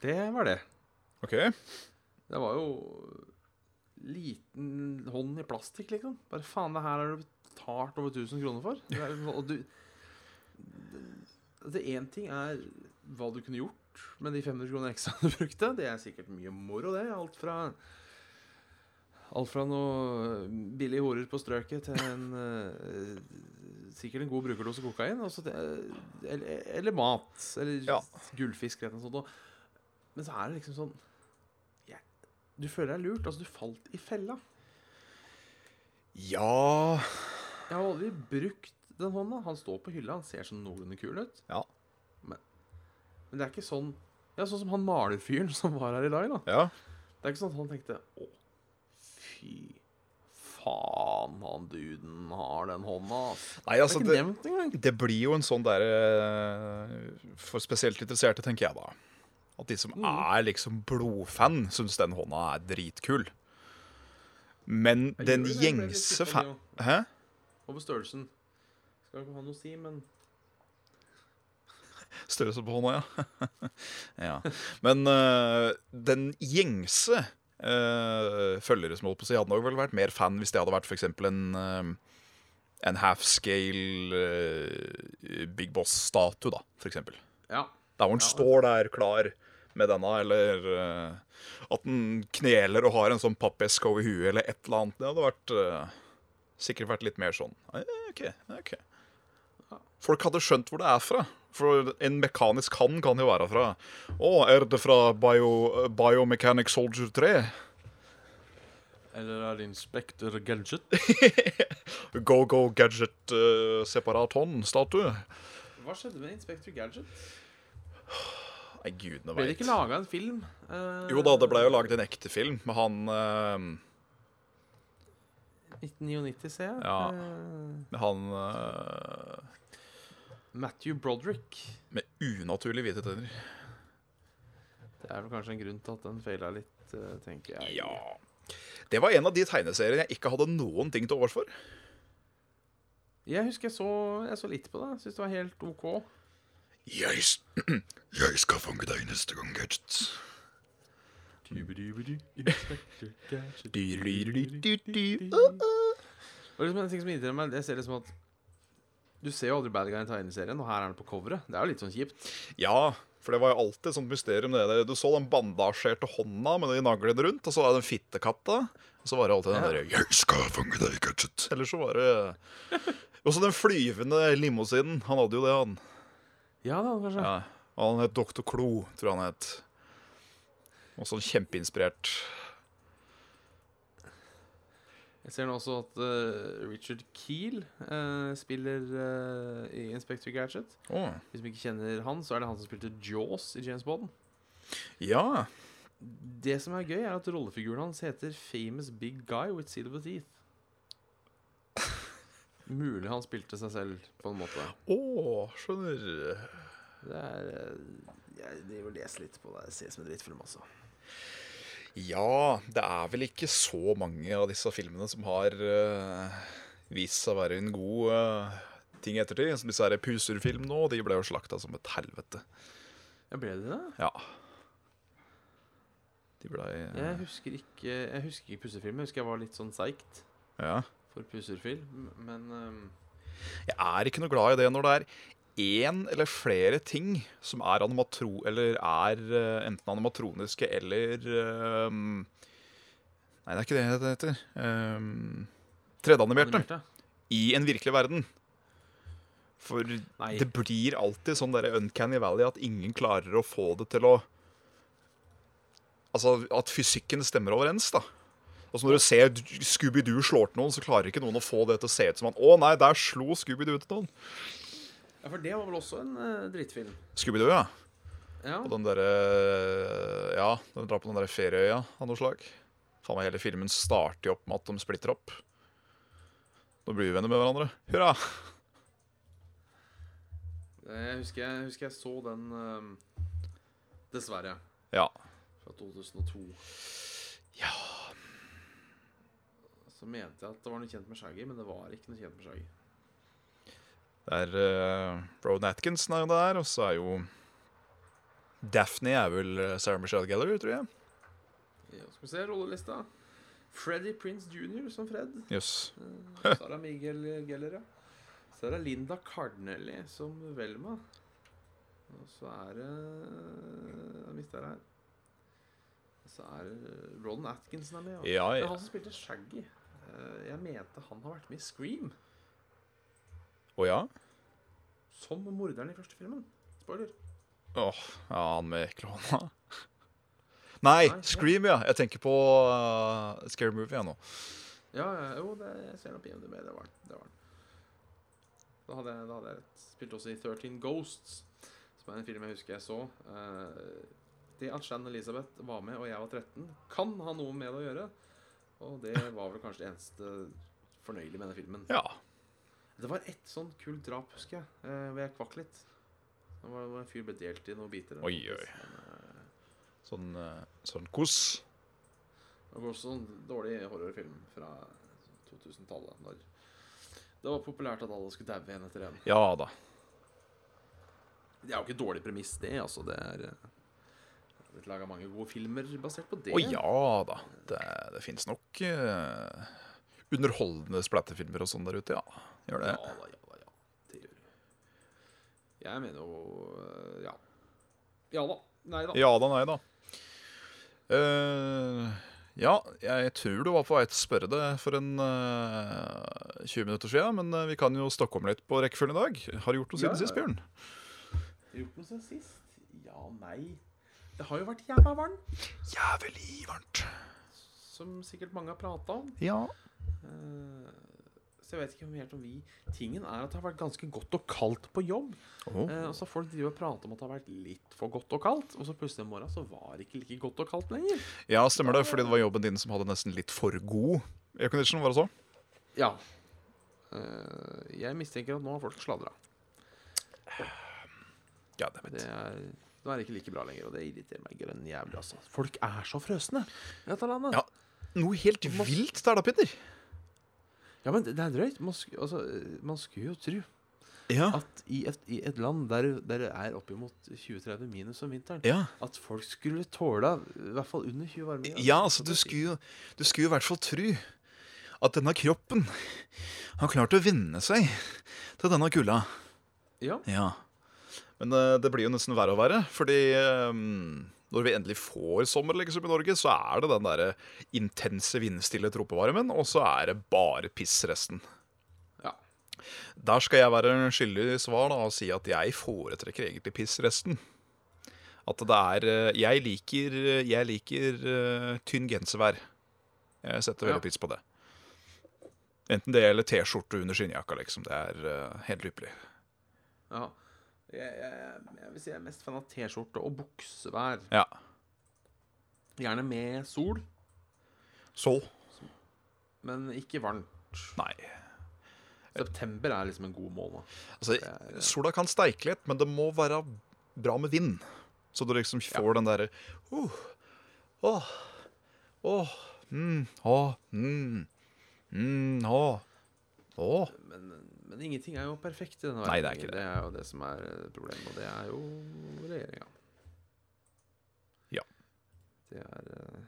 [SPEAKER 2] Det var det.
[SPEAKER 3] OK.
[SPEAKER 2] Det var jo liten hånd i plastikk, liksom. Bare faen, det her har du betalt over 1000 kroner for. Det er, og du Det én ting er hva du kunne gjort med de 500 kroner ekstra du brukte. Det er sikkert mye moro, det. Alt fra Alt fra noe billige horer på strøket til en eh, Sikkert en god brukerdose kokain. og så det- eller, eller mat. Eller
[SPEAKER 3] Ja.
[SPEAKER 2] gullfisk eller noe sånt. Og, men så er det liksom sånn jeg- Du føler deg lurt. Altså, du falt i fella.
[SPEAKER 3] Ja
[SPEAKER 2] Jeg har aldri brukt den hånda. Han står på hylla, han ser sånn noenlunde kul ut.
[SPEAKER 3] Ja.
[SPEAKER 2] Men, men det er ikke sånn Ja, sånn som han malerfyren som var her i dag, da.
[SPEAKER 3] Ja.
[SPEAKER 2] Det er ikke sånn at han tenkte Å, fy faen, han duden har den hånda, ass.
[SPEAKER 3] Nei,
[SPEAKER 2] Det er
[SPEAKER 3] altså
[SPEAKER 2] ikke
[SPEAKER 3] det,
[SPEAKER 2] nevnt engang.
[SPEAKER 3] det blir jo en sånn derre For spesielt interesserte, tenker jeg da. At de
[SPEAKER 2] Mm.
[SPEAKER 3] som er liksom blodfan, syns den hånda er dritkul. Men
[SPEAKER 2] Jeg gjør
[SPEAKER 3] den
[SPEAKER 2] det, jeg ble litt
[SPEAKER 3] gjengse
[SPEAKER 2] skuffet
[SPEAKER 3] fan
[SPEAKER 2] nå,
[SPEAKER 3] Hæ?
[SPEAKER 2] Over størrelsen. Skal ikke ha noe å si, men
[SPEAKER 3] Størrelse på hånda, ja. ja. Men øh, den gjengse øh, følgere som holdt på å si, hadde nok vel vært mer fan hvis det hadde vært f.eks. en øh, en half-scale øh, Big Boss-statue, da, for eksempel.
[SPEAKER 2] ja.
[SPEAKER 3] Der hvor han står der klar med denne, eller eh, at han kneler og har en sånn pappeske over huet, eller et eller annet. Det hadde vært, eh, sikkert vært litt mer sånn. Ah, ja, ok, ja, ok. Folk hadde skjønt hvor det er fra. For en mekanisk hann kan jo være fra. Å, er det fra Bio, Biomechanic Soldier 3?
[SPEAKER 1] Eller er det Inspector Gadget?
[SPEAKER 3] Go Go Gadget uh, separat hånd-statue?
[SPEAKER 2] Hva skjedde med Inspector Gadget?
[SPEAKER 3] Nei, gudene
[SPEAKER 2] Ble det
[SPEAKER 3] veit.
[SPEAKER 2] ikke laga en film? eh,
[SPEAKER 3] Jo da, det ble jo laget en ekte film med han eh,
[SPEAKER 2] 1999, Eh, ser jeg.
[SPEAKER 3] Ja.
[SPEAKER 2] Eh,
[SPEAKER 3] med Han eh,
[SPEAKER 2] Matthew Broderick.
[SPEAKER 3] med unaturlig hvite tenner.
[SPEAKER 2] Det er vel kanskje en grunn til at den feila litt, eh, tenker jeg.
[SPEAKER 3] Ja. Det var en av de tegneseriene jeg ikke hadde noen ting til overs for.
[SPEAKER 2] Jeg husker jeg så, jeg så litt på det. Syns det var helt OK.
[SPEAKER 3] Jeg, s- jeg skal fange deg neste gang, Gadget.
[SPEAKER 1] Tubidubidi, Inspector Gadget.
[SPEAKER 3] Du-du-du-du-du.
[SPEAKER 2] Og liksom en ting som irriterer meg, det ser liksom at Du ser jo aldri bad guy i tegneserien, og her er han på coveret. Det er jo litt sånn kjipt.
[SPEAKER 3] Ja, for det var jo alltid et sånt mysterium. Det. der. Du så den bandasjerte hånda med de naglene rundt, og så var det den fittekatta. Og så var det alltid den derre 'Jeg skal fange deg, Gadget'. Eller så var det Og så den flyvende limousinen. Han hadde jo det, han.
[SPEAKER 2] Ja da, kanskje.
[SPEAKER 3] Ja. Og han het Dr. Klo, tror jeg han het. Og sånn kjempeinspirert.
[SPEAKER 2] Jeg ser nå også at eh, Richard Keel eh, spiller eh, i Inspector Gadget.
[SPEAKER 3] Oh.
[SPEAKER 2] Hvis vi ikke kjenner han, så er det han som spilte Jaws i James Bond.
[SPEAKER 3] Ja.
[SPEAKER 2] Det som er gøy, er at rollefiguren hans heter Famous Big Guy with Silver Teeth. Mulig han spilte seg selv, på en måte.
[SPEAKER 3] Å, skjønner.
[SPEAKER 2] Det er eh, Jeg driver og leser litt på det. Det ser ut som en drittfilm, altså.
[SPEAKER 3] Ja, det er vel ikke så mange av disse filmene som har eh, vist seg å være en god eh, ting i ettertid. Som disse her Puser-filmene òg. De ble jo slakta som et helvete.
[SPEAKER 2] Ja, ble det det?
[SPEAKER 3] Ja. De eh, blei
[SPEAKER 2] Jeg husker ikke Jeg husker ikke pussefilm. Jeg husker jeg var litt sånn seigt
[SPEAKER 3] Ja.
[SPEAKER 2] for pusserfilm, men ehm,
[SPEAKER 3] Jeg er ikke noe glad i det når det er én eller flere ting som er animatro... Eller er eh, enten animatroniske eller eh, Nei, det er ikke det det heter. Um, 3D-animerte.
[SPEAKER 2] animerte.
[SPEAKER 3] i en virkelig verden. For
[SPEAKER 2] Nei.
[SPEAKER 3] det blir alltid sånn der uncanny valley at ingen klarer å få det til å altså, at fysikken stemmer overens. da. Altså Når du ser Scooby-Doo slår til noen, så klarer ikke noen å få det til å se ut som at Å nei, der slo Scooby-Doo til noen.
[SPEAKER 2] Ja, For det var vel også en eh, drittfilm?
[SPEAKER 3] Scooby-Doo, ja.
[SPEAKER 2] Ja.
[SPEAKER 3] Og den derre Ja, den drar på den derre ferieøya av noe slag. Faen meg, hele filmen starter jo opp med at de splitter opp. Nå blir vi venner med hverandre. Hurra!
[SPEAKER 2] Jeg husker jeg, husker jeg så den eh, Dessverre.
[SPEAKER 3] Ja.
[SPEAKER 2] Fra 2002.
[SPEAKER 3] Ja.
[SPEAKER 2] Så mente jeg at det var noe kjent med Shaggy, men det var ikke noe kjent med Shaggy.
[SPEAKER 3] Det er uh, Rowan Atkinson er jo der, og så er jo Daphne er vel eh, Sarah Michelle Gellar, tror jeg.
[SPEAKER 2] Ja, skal vi se rollelista. Freddy Prince jr. som Fred.
[SPEAKER 3] Jøss.
[SPEAKER 2] Eh, Sara Miguel Geller, ja. Så er det Linda Cardinelli som Velma. Og så er det eh, Jeg mista det her. Og så er det Ron Atkinson er med. ja.
[SPEAKER 3] Ja,
[SPEAKER 2] Det er
[SPEAKER 3] ja.
[SPEAKER 2] han som spilte Shaggy. Eh, Jeg mente han har vært med i Scream
[SPEAKER 3] Å ja?
[SPEAKER 2] som morderen i første filmen. Spoiler.
[SPEAKER 3] Åh, ja, han med klona. Nei,
[SPEAKER 2] Nei, ja.
[SPEAKER 3] Scream, ja. Jeg tenker på eh, Scary Movie, jeg nå.
[SPEAKER 2] Ja, ja, jo, det jeg ser nok IMDb. Det var det. Var. han. Da, hadde jeg, da hadde jeg rett. Spilte også i 13 Ghosts, som er en film jeg husker jeg så. Eh, Det at Shan Elisabeth var med og jeg var 13, kan ha noe med det å gjøre. Og det var vel kanskje det eneste fornøyelige med den filmen.
[SPEAKER 3] Ja.
[SPEAKER 2] Det var ett sånn kult drap, husker jeg, eh, hvor jeg kvakk litt. Det var, det var en fyr ble delt i noen biter. eller
[SPEAKER 3] Oi,
[SPEAKER 2] noe.
[SPEAKER 3] oi.
[SPEAKER 2] Men, eh,
[SPEAKER 3] Sånn, eh, sånn kos.
[SPEAKER 2] Det var også en dårlig horrorfilm fra 2000-tallet. Når det var populært at alle skulle daue en etter en.
[SPEAKER 3] Ja da.
[SPEAKER 2] Det er jo ikke et dårlig premiss, det. altså. Det er eh, det er blitt laga mange gode filmer basert på det.
[SPEAKER 3] Å ja da. Det, det fins nok eh, underholdende splatterfilmer og sånn der ute, ja. Gjør
[SPEAKER 2] Ja
[SPEAKER 3] det.
[SPEAKER 2] da, ja da, ja. Det gjør det. Jeg mener jo eh, Ja. Ja da. Nei da.
[SPEAKER 3] Ja da, nei da. Eh, ja, jeg tror du var på vei til å spørre det for en eh, 20 minutter siden, men eh, vi kan jo stokke om litt på rekkefølgen i dag. Har du gjort noe
[SPEAKER 2] Ja,
[SPEAKER 3] siden
[SPEAKER 2] ja,
[SPEAKER 3] sist,
[SPEAKER 2] ja.
[SPEAKER 3] Bjørn?
[SPEAKER 2] Gjort noe siden sist? Ja, nei. Det har jo vært jævla varmt,
[SPEAKER 3] Jævlig varmt.
[SPEAKER 2] som sikkert mange har prata om.
[SPEAKER 3] Ja.
[SPEAKER 2] Eh, Så jeg vet ikke om helt om vi Tingen er at det har vært ganske godt og kaldt på jobb.
[SPEAKER 3] Åh.
[SPEAKER 2] Eh, og så har folk driver og prater om at det har vært litt for godt og kaldt. Og så plutselig en morgen så var det ikke like godt og kaldt lenger.
[SPEAKER 3] ja, stemmer det, fordi det var jobben din som hadde nesten litt for god aircondition, var det så?
[SPEAKER 2] Ja. Eh, jeg mistenker at nå har folk sladra.
[SPEAKER 3] Ja, det
[SPEAKER 2] Det er nå er det ikke like bra lenger, og det irriterer meg grønn jævlig. Altså. Folk er så frøsne i dette landet.
[SPEAKER 3] Ja. Noe helt vilt der da, Petter.
[SPEAKER 2] Ja, men det det er drøyt. Man, sk altså, eh, man skulle jo tro
[SPEAKER 3] Ja.
[SPEAKER 2] at i et, i et land der, der det er oppimot 20-30 minus om vinteren,
[SPEAKER 3] Ja.
[SPEAKER 2] At folk skulle tåle i hvert fall under 20 varme.
[SPEAKER 3] Ja, altså, du skulle, jo- du skulle i hvert fall tro at denne kroppen har klart å venne seg til denne kulda.
[SPEAKER 2] Ja.
[SPEAKER 3] Ja. Men eh, det blir jo nesten verre og verre, fordi eh, når vi endelig får sommer liksom, i Norge, så er det den derre intense vindstille tropevarmen, og så er det bare piss resten.
[SPEAKER 2] Ja.
[SPEAKER 3] Der skal jeg være skyldig svar da, og si at jeg foretrekker egentlig piss resten. At det er eh, Jeg liker, jeg liker eh, tynn genservær. Jeg setter
[SPEAKER 2] Ja.
[SPEAKER 3] veldig pris på det. Enten det eller T-skjorte under skinnjakka, liksom. Det er eh, helt ypperlig.
[SPEAKER 2] ja. Jeg, jeg, jeg vil si jeg er mest fan av T-skjorte og buksevær.
[SPEAKER 3] Ja.
[SPEAKER 2] Gjerne med sol,
[SPEAKER 3] Så?
[SPEAKER 2] men ikke varmt.
[SPEAKER 3] Nei.
[SPEAKER 2] September er liksom en god måned.
[SPEAKER 3] Altså, sola kan steike litt, men det må være bra med vind. Så du liksom får den derre uh, Åh, åh, mm, åh, mm, mm, åh, åh.
[SPEAKER 2] Men, men ingenting er jo perfekt i denne
[SPEAKER 3] Nei, det er
[SPEAKER 2] verden.
[SPEAKER 3] ikke det.
[SPEAKER 2] Det er jo det som er eh, problemet, og det er jo regjeringa.
[SPEAKER 3] Ja.
[SPEAKER 2] Det er eh,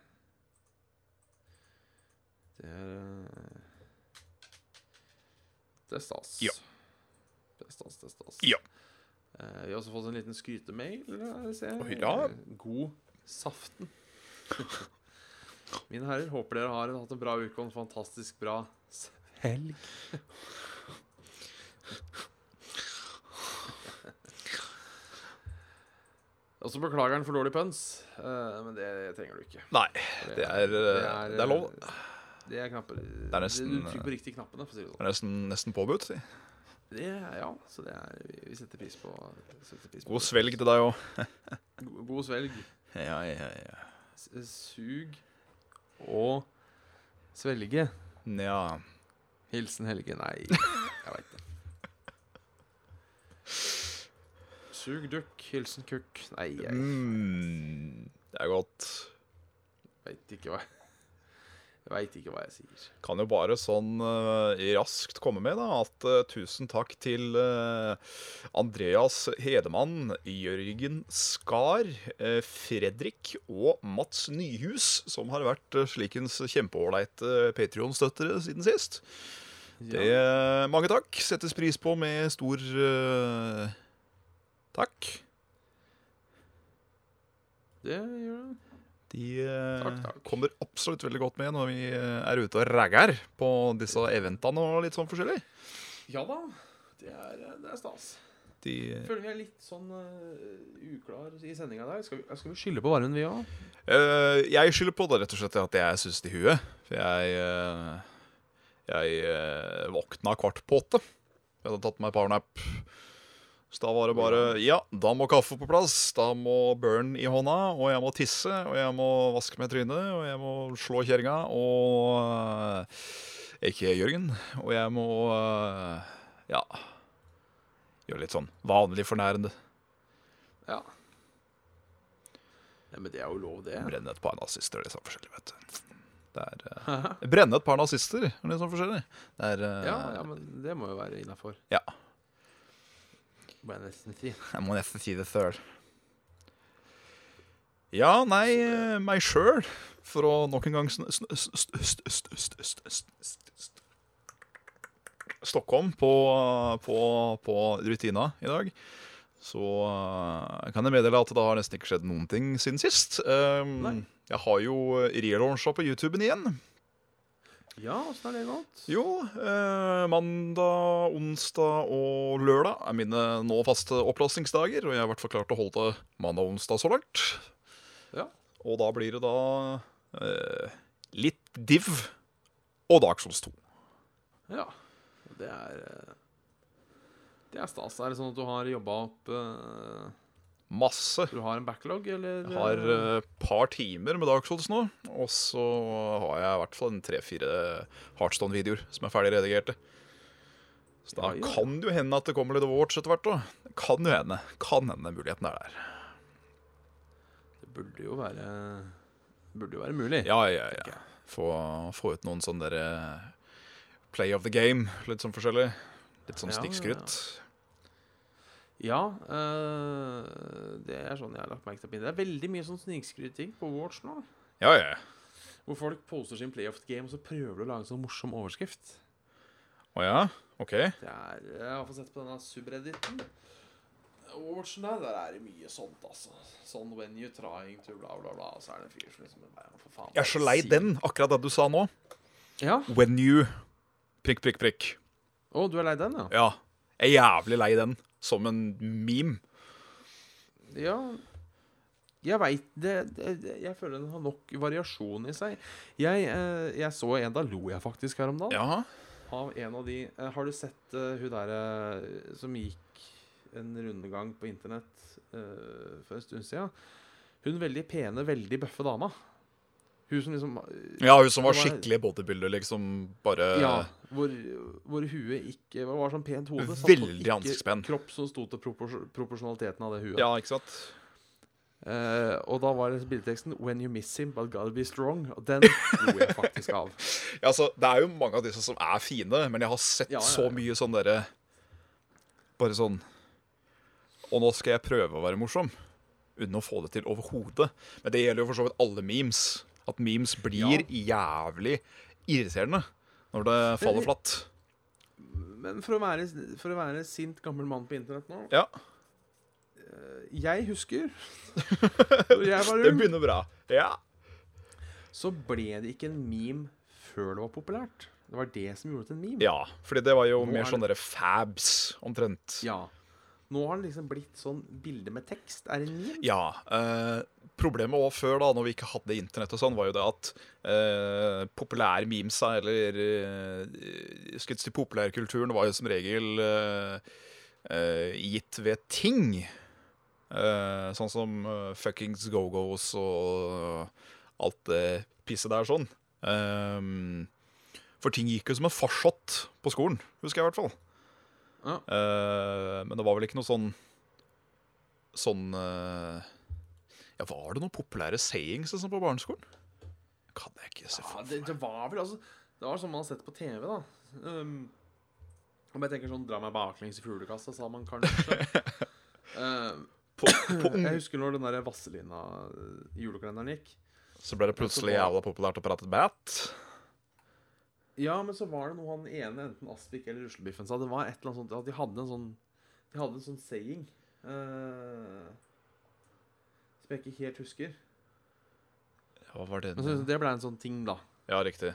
[SPEAKER 2] Det er eh, Det er stas.
[SPEAKER 3] Ja.
[SPEAKER 2] Det er stas, det er stas.
[SPEAKER 3] Ja.
[SPEAKER 2] Eh, vi har også fått en liten skrytemail. her, ser jeg.
[SPEAKER 3] Oi, ja.
[SPEAKER 2] Eh, God saften. Mine herrer, håper dere har hatt en bra uke og en fantastisk bra s- helg. Og så beklager han for dårlig pønsk, eh, men det trenger du ikke.
[SPEAKER 3] Nei, det er, eh, det er lov.
[SPEAKER 2] Det er knapper.
[SPEAKER 3] er nesten, eh,
[SPEAKER 2] Du trykker på riktig knappene, for å si det sånn.
[SPEAKER 3] Det er nesten, nesten påbudt. si.
[SPEAKER 2] Det, er- ja, så det er, vi- vi setter pris på, setter pris på.
[SPEAKER 3] God svelg til deg òg.
[SPEAKER 2] God, god svelg,
[SPEAKER 3] Ja, ja, ja.
[SPEAKER 2] s- sug og svelge.
[SPEAKER 3] Nja.
[SPEAKER 2] Hilsen Helge. Nei, jeg veit det. Sug dukk, hilsen kukk. Nei, jeg
[SPEAKER 3] Mm, det er godt.
[SPEAKER 2] veit ikke hva Jeg veit ikke hva jeg sier.
[SPEAKER 3] Kan jo bare sånn eh, raskt komme med da, at eh, tusen takk til eh, Andreas Hedemann, Jørgen Skar, eh, Fredrik og Mats Nyhus, som har vært eh, slikens kjempeålreite Patrion-støttere siden sist. Det, eh,
[SPEAKER 2] Ja.
[SPEAKER 3] mange takk. Settes pris på med stor eh, takk.
[SPEAKER 2] Det gjør det.
[SPEAKER 3] De eh,
[SPEAKER 2] Takk, takk.
[SPEAKER 3] kommer absolutt veldig godt med når vi eh, er ute og ragger på disse eventene og litt sånn forskjellig.
[SPEAKER 2] Ja da. Det er, det er stas.
[SPEAKER 3] De,
[SPEAKER 2] Jeg føler vi er litt sånn eh, uklar i sendinga i dag. Skal vi, skal vi skylde på varmen, vi òg?
[SPEAKER 3] Eh, jeg skylder på det rett og slett at jeg er sust i huet. For jeg, eh, jeg eh, våkna kvart på åtte. Jeg hadde tatt meg powernap. Så da var det bare Ja, da må kaffe på plass. Da må burn i hånda. Og jeg må tisse, og jeg må vaske meg i trynet, og jeg må slå kjerringa, og eh, Ikke Jørgen. Og jeg må eh, Ja. Gjøre litt sånn vanlig fornærende.
[SPEAKER 2] Ja. Nei, men det er jo lov, det.
[SPEAKER 3] Brenne et par nazister og litt sånn forskjellig, vet du. Det er eh, Brenne et par nazister og litt sånn forskjellig. Det er eh,
[SPEAKER 2] Ja, ja, men det må jo være innafor.
[SPEAKER 3] Ja.
[SPEAKER 2] Må jeg nesten si.
[SPEAKER 3] Jeg må nesten si det sjøl. Ja, nei, eh, meg sjøl. For å nok en gang sn- sn- sn- sn- sn- sn- sn- sn- sn- sn- sn- Stockholm på, på, på rutina i dag. Så eh, kan jeg meddele at det har nesten ikke skjedd noen ting siden sist. Um,
[SPEAKER 2] Nei.
[SPEAKER 3] jeg har jo relauncha på YouTuben igjen.
[SPEAKER 2] Ja, åssen er det gått?
[SPEAKER 3] Jo, eh, mandag, onsdag og lørdag er mine nå faste opplastningsdager. Og jeg har i hvert fall klart å holde til mandag og onsdag så langt.
[SPEAKER 2] Ja.
[SPEAKER 3] Og da blir det da eh, litt div og Dark Souls 2.
[SPEAKER 2] Ja. Det er eh, Det er stas. Er det sånn at du har jobba opp eh,
[SPEAKER 3] Masse.
[SPEAKER 2] Du har en backlog, eller?
[SPEAKER 3] Jeg har
[SPEAKER 2] eh,
[SPEAKER 3] et par timer med Dark Souls nå. Og så har jeg i hvert fall en tre-fire Heartstone-videoer som er ferdig redigerte. Så da
[SPEAKER 2] Eh, Ja, ja.
[SPEAKER 3] kan det jo hende at det kommer litt Overwatch etter hvert òg. Kan jo hende. Kan hende muligheten er der.
[SPEAKER 2] Det burde jo være Burde jo være mulig.
[SPEAKER 3] Ja, ja,
[SPEAKER 2] tenker
[SPEAKER 3] ja. Få, få ut noen sånne der eh, play of the game, litt sånn forskjellig. Litt sånn
[SPEAKER 2] Ja,
[SPEAKER 3] stikkskrytt.
[SPEAKER 2] Ja, eh, det er sånn jeg har lagt merke til. Det er veldig mye sånn snikskryting på Watch nå.
[SPEAKER 3] Ja, ja. ja.
[SPEAKER 2] Hvor folk poster sin playoff-game, og så prøver de å lage en sånn morsom overskrift.
[SPEAKER 3] Å ja? OK.
[SPEAKER 2] Det er, Jeg har fått sett på denne subredditen. Overwatchen der, der er det mye sånt, altså. Sånn when you trying to bla, bla, bla. Og så er det en fyr som liksom bare, for faen,
[SPEAKER 3] Jeg er så lei
[SPEAKER 2] si-
[SPEAKER 3] den, akkurat det du sa nå.
[SPEAKER 2] Ja,
[SPEAKER 3] When you prikk, prikk, prikk.
[SPEAKER 2] Å, du er lei den, ja?
[SPEAKER 3] Ja. Jeg er jævlig lei den, som en meme.
[SPEAKER 2] Ja. Jeg veit det, det det- Jeg føler den har nok variasjon i seg. Jeg, eh, jeg så en, da lo jeg faktisk her om dagen.
[SPEAKER 3] Ja.
[SPEAKER 2] Av en av de eh, Har du sett eh, hun derre som gikk en rundegang på internett eh, for en stund siden? Hun veldig pene, veldig bøffe dama. Hun som liksom eh,
[SPEAKER 3] ja, hun som var
[SPEAKER 2] Det var-
[SPEAKER 3] skikkelig bodybuilder, liksom. Bare
[SPEAKER 2] Ja, hvor, hvor huet ikke Hva var sånn pent hode? satt på
[SPEAKER 3] Veldig
[SPEAKER 2] ikke
[SPEAKER 3] ansiktsspenn.
[SPEAKER 2] Kropp som sto til propors proporsjonaliteten av det huet.
[SPEAKER 3] Ja, ikke sant?
[SPEAKER 2] Eh, og da var det bildeteksten 'When you miss him, but gotta be strong'. Og den lo jeg faktisk av.
[SPEAKER 3] Ja, altså, det er jo mange av disse som er fine, men jeg har sett
[SPEAKER 2] Ja, ja,
[SPEAKER 3] så
[SPEAKER 2] ja.
[SPEAKER 3] mye sånn derre Bare sånn Og nå skal jeg prøve å være morsom. Uten å få det til overhodet. Men det gjelder jo for så vidt alle memes. At memes blir jævlig irriterende når det faller flatt.
[SPEAKER 2] Men for å være, for å være sint gammel mann på internett nå eh,
[SPEAKER 3] Ja,
[SPEAKER 2] Jeg husker Når jeg var
[SPEAKER 3] det
[SPEAKER 2] ung,
[SPEAKER 3] begynner bra. Ja.
[SPEAKER 2] så ble det ikke en meme før det var populært. Det var det som gjorde det til en meme.
[SPEAKER 3] ja fordi det var jo
[SPEAKER 2] Nå er
[SPEAKER 3] mer
[SPEAKER 2] det-
[SPEAKER 3] sånn derre fabs, omtrent.
[SPEAKER 2] Ja. Nå har det liksom blitt sånn bilde med tekst. Er det en meme?
[SPEAKER 3] Ja. Eh, problemet også før, da når vi ikke hadde internett, og sånn, var jo det at eh, populærmemesa, eller eh, skal jeg si populærkulturen, var jo som regel eh, eh, gitt ved ting. Eh, sånn som eh, fuckings go-go's og alt det pisset der sånn. Ehm, for ting gikk jo som en farsott på skolen, husker jeg i hvert fall.
[SPEAKER 2] Ja.
[SPEAKER 3] Eh, men det var vel ikke noe sånn Sånn eh, Ja, var det noen populære sayings og sånn på barneskolen? Kan jeg ikke se
[SPEAKER 2] Ja,
[SPEAKER 3] for
[SPEAKER 2] det, det var vel altså Det var sånn man har sett på TV, da. Um, om jeg tenker sånn 'dra meg baklengs i fuglekassa', sa man kanskje. um,
[SPEAKER 3] på, på ung
[SPEAKER 2] jeg husker når den der Vazelina-julekalenderen gikk.
[SPEAKER 3] Så ble det plutselig jævla populært å prate bat.
[SPEAKER 2] Ja, men så var det noe han ene, enten Aspik eller Ruslebiffen, sa. Det var et eller annet sånt at de hadde en sånn De hadde en sånn saying eh, som jeg ikke helt husker.
[SPEAKER 3] Ja, Hva var det
[SPEAKER 2] Men så, det ble en sånn ting, da.
[SPEAKER 3] Ja, riktig.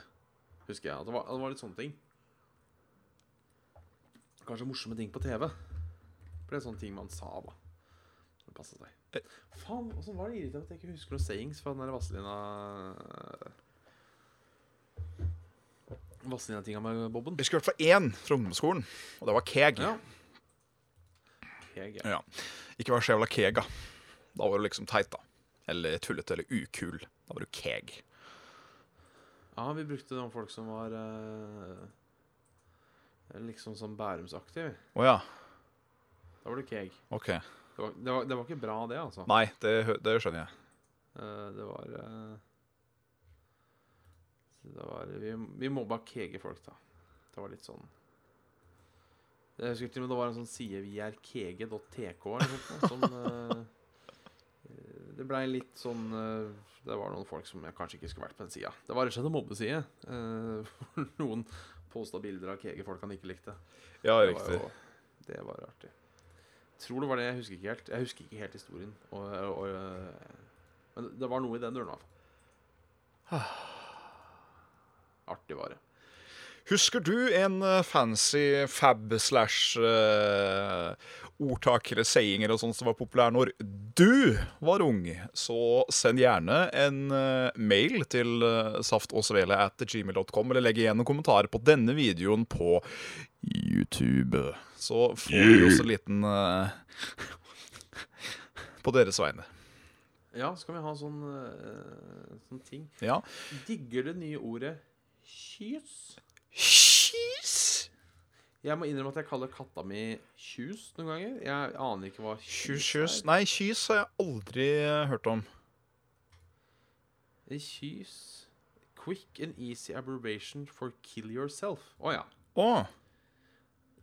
[SPEAKER 2] Husker jeg. At det var, det var litt sånne ting. Kanskje morsomme ting på TV. For det er sånne sånn ting man sa, da. Det passet
[SPEAKER 3] Eh.
[SPEAKER 2] seg. Faen, åssen var det irriterende at jeg ikke husker noen sayings fra den der Vazelina Vazelina-tinga med Bobben?
[SPEAKER 3] Jeg husker i hvert fall én fra ungdomsskolen, og det var keg.
[SPEAKER 2] Ja. Keg, ja.
[SPEAKER 3] Ja. Ikke vær så jævla keg, da. Da var du liksom teit, da. Eller tullete eller ukul. Da var du keg.
[SPEAKER 2] ja, vi brukte det om folk som var eh, liksom sånn Bærumsaktig.
[SPEAKER 3] Å ja.
[SPEAKER 2] Da var du keg.
[SPEAKER 3] OK.
[SPEAKER 2] Det var, det, var, det var ikke bra, det, altså.
[SPEAKER 3] Nei, det, hø- det skjønner jeg.
[SPEAKER 2] Eh, Det var eh, Det var Vi, vi mobba kege folk, da. Det var litt sånn Jeg husker til og med det var en sånn side vi er kege.tk eller noe sånt. Som, eh, eh, det blei litt sånn eh, Det var noen folk som jeg kanskje ikke skulle vært på den sida. Det var rett og slett en mobbeside. eh, hvor noen posta bilder av kege-folk han ikke likte.
[SPEAKER 3] Ja,
[SPEAKER 2] Det var,
[SPEAKER 3] riktig.
[SPEAKER 2] jo, det var artig. Tror det var det. Jeg husker ikke helt Jeg husker ikke helt historien. Og, og, og, men det var noe i den duren, i hvert fall. Artig var det.
[SPEAKER 3] Husker du en eh, fancy fab slash eh, ordtaker, sayinger og sånt som var populær når du var ung? Så send gjerne en eh, mail til uh, saftogsvele at gmail.com, eller legg igjen en kommentar på denne videoen på YouTube. Så får vi også en liten eh, På deres vegne.
[SPEAKER 2] Ja, så kan vi ha sånn, eh, sånn ting.
[SPEAKER 3] Ja.
[SPEAKER 2] Digger det nye ordet kyss?
[SPEAKER 3] Kyss!
[SPEAKER 2] Jeg må innrømme at jeg kaller katta mi kjus noen ganger. Jeg aner ikke hva
[SPEAKER 3] Kyss,
[SPEAKER 2] kjus
[SPEAKER 3] kyss. Nei, kyss har jeg aldri eh, hørt om.
[SPEAKER 2] er. Kjus. Quick and easy abbreviation for kill yourself. Å ja.
[SPEAKER 3] Å.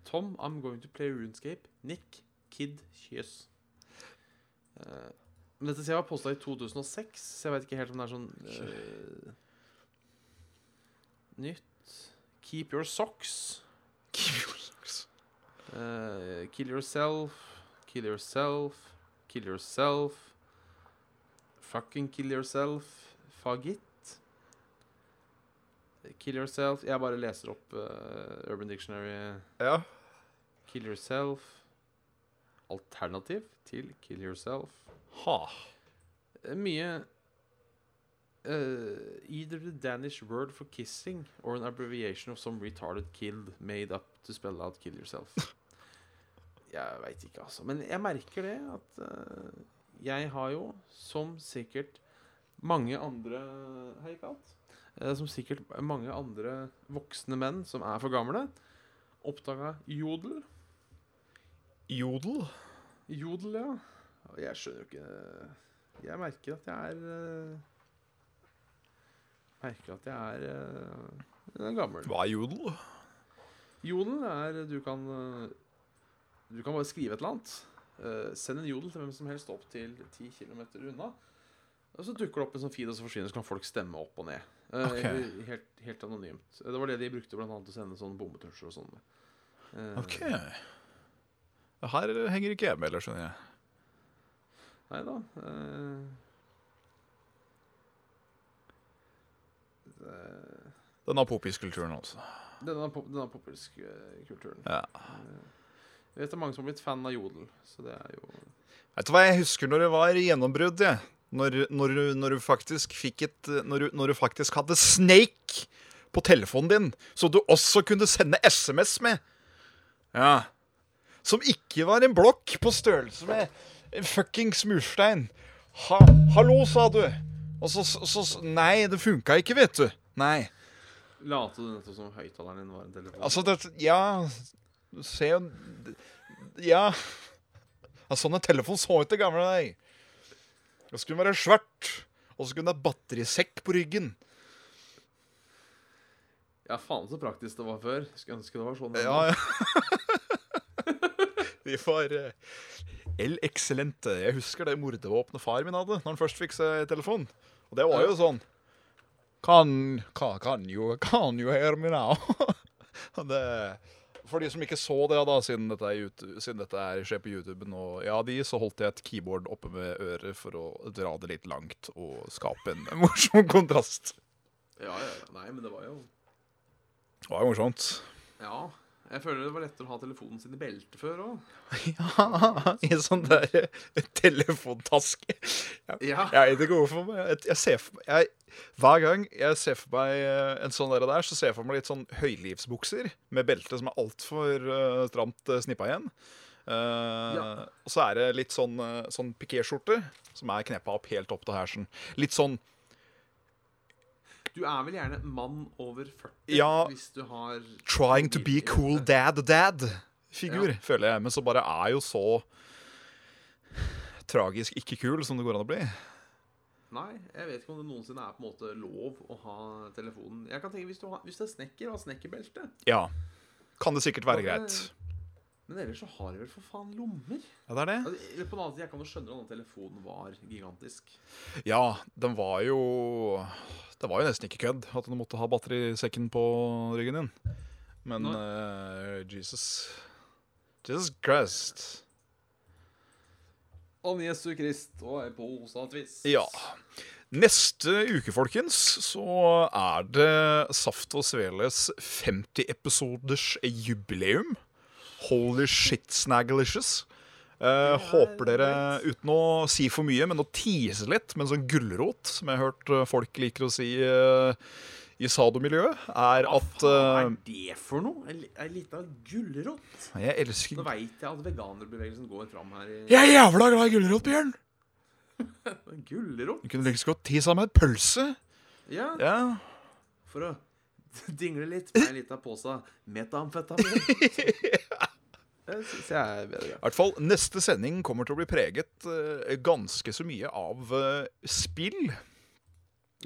[SPEAKER 2] Tom, I'm going to play RuneScape. Nick, kid, kyss. Eh, Men dette ser jeg var posta i 2006, så jeg vet ikke helt om det er sånn eh, Nytt. Keep your socks. Eh, kill yourself. Kill yourself. Kill yourself. Fucking kill yourself. Fagit. Kill yourself. Jeg bare leser opp eh, Urban Dictionary.
[SPEAKER 3] Ja.
[SPEAKER 2] Kill yourself. Alternativ til kill yourself.
[SPEAKER 3] Ha.
[SPEAKER 2] Eh, Mye eh, Either the Danish word for kissing or an abbreviation of some retarded kid made up to spell out kill yourself. Jeg veit ikke, altså. Men jeg merker det at eh, jeg har jo, som sikkert mange andre Hei, Kalt. Eh, som sikkert mange andre voksne menn som er for gamle, oppdaga jodel.
[SPEAKER 3] Jodel?
[SPEAKER 2] Jodel, ja. Og Jeg skjønner jo ikke Jeg merker at jeg er eh, Merker at jeg er, eh, jeg er gammel.
[SPEAKER 3] Hva er jodel?
[SPEAKER 2] Jodel er Du kan eh, Du kan bare skrive et eller annet. Eh, send en jodel til hvem som helst opp til 10 km unna. Og så dukker det opp en sånn feed, og så forsvinner, så kan folk stemme opp og ned. Eh,
[SPEAKER 3] Ok.
[SPEAKER 2] helt, helt anonymt. Eh, Det var det de brukte blant annet til å sende sånne bombetusjer og sånn. Eh,
[SPEAKER 3] Ok. Her henger ikke jeg med, eller skjønner jeg.
[SPEAKER 2] Nei da. eh, det-
[SPEAKER 3] Den apopiskulturen, altså.
[SPEAKER 2] Denne, pop, denne populiske kulturen.
[SPEAKER 3] Ja.
[SPEAKER 2] Jeg eh, vet det er mange som har blitt fan av Jodel, så det er jo
[SPEAKER 3] Vet du hva jeg husker når det var gjennombrudd? jeg? Når, når, du- når du faktisk fikk et når du, når du faktisk hadde Snake på telefonen din, så du også kunne sende SMS med. Ja. Som ikke var en blokk på størrelse med en fuckings murstein. Ha, hallo, sa du. Og så, så, så Nei, det funka ikke, vet du. Nei.
[SPEAKER 2] Late du nettopp som høyttaleren din var en telefon?
[SPEAKER 3] Altså, det Ja. Du ser jo Ja. ja sånn en telefon så ut i gamle dager. Det skulle være svært, og så kunne det ha batterisekk på ryggen.
[SPEAKER 2] Ja, faen så praktisk det var før. Skulle ønske det var sånn.
[SPEAKER 3] Ja, ja. De var eh, el excellente. Jeg husker det mordevåpenet far min hadde når han først fikk seg telefon. Og det var jo sånn Kan ka, Kan you, can you hear me now? Og det, for de som ikke så det, da, siden dette, er, YouTube- siden dette er, skjer på YouTube nå, ja, de, så holdt jeg et keyboard oppe med øret for å dra det litt langt og skape en morsom kontrast.
[SPEAKER 2] ja, ja, ja. Nei, men det var jo
[SPEAKER 3] Det var jo morsomt.
[SPEAKER 2] Ja. Jeg føler det var lettere å ha telefonen sin i beltet før òg.
[SPEAKER 3] Ja, i en sånn der eh, telefontaske. Jeg,
[SPEAKER 2] Ja.
[SPEAKER 3] jeg vet ikke hvorfor, men jeg, jeg ser for meg jeg, Hver gang jeg ser for meg eh, en sånn der, der, så ser jeg for meg litt sånn høylivsbukser med belte som er altfor uh, stramt uh, snippa igjen. Eh,
[SPEAKER 2] Ja.
[SPEAKER 3] Og så er det litt sånn, uh, sånn pikéskjorte som er kneppa opp helt opp til hersen. Litt sånn
[SPEAKER 2] Du er vel gjerne mann over 40
[SPEAKER 3] Ja.
[SPEAKER 2] hvis du har
[SPEAKER 3] trying to be cool dad-dad-figur, føler jeg. Men så bare er jo så tragisk ikke kul som det går an å bli.
[SPEAKER 2] Nei, jeg vet ikke om det noensinne er på en måte lov å ha telefonen Jeg kan tenke, Hvis, du har, hvis det er snekker, ha snekkerbelte.
[SPEAKER 3] Ja. Kan det sikkert være
[SPEAKER 2] Og det-
[SPEAKER 3] greit.
[SPEAKER 2] Men ellers så har de vel for faen lommer?
[SPEAKER 3] Ja, det er det.
[SPEAKER 2] Altså, eller på en annen side, Jeg kan jo skjønne at den telefonen var gigantisk.
[SPEAKER 3] Ja, den var jo Det var jo nesten ikke kødd at du måtte ha batterisekken på ryggen din. Men eh, Jesus Jesus Christ.
[SPEAKER 2] Om Jesu Krist og ei pose av Twist.
[SPEAKER 3] Ja. Neste uke, folkens, så er det Saft og Sveles 50-episoders jubileum. Holy shit, snagglicious. Eh, håper dere, uten å si for mye, men å tease litt med en sånn gulrot, som jeg har hørt eh, folk liker å si eh, i Sado-miljøet, er at
[SPEAKER 2] Hva er det for noe? Ei li- Ei lita gulrot?
[SPEAKER 3] eh, Jeg elsker
[SPEAKER 2] Nå veit jeg at veganerbevegelsen går fram her i
[SPEAKER 3] Jeg er jævla glad i gulrot, Bjørn!
[SPEAKER 2] Gulrot?
[SPEAKER 3] Du kunne like så godt tisa med et pølse.
[SPEAKER 2] Ja,
[SPEAKER 3] Ja.
[SPEAKER 2] for å dingle litt med ei lita pose metamfetamin. Eh, Det syns jeg er bedre.
[SPEAKER 3] I hvert fall, Neste sending kommer til å bli preget eh, ganske så mye av eh, spill,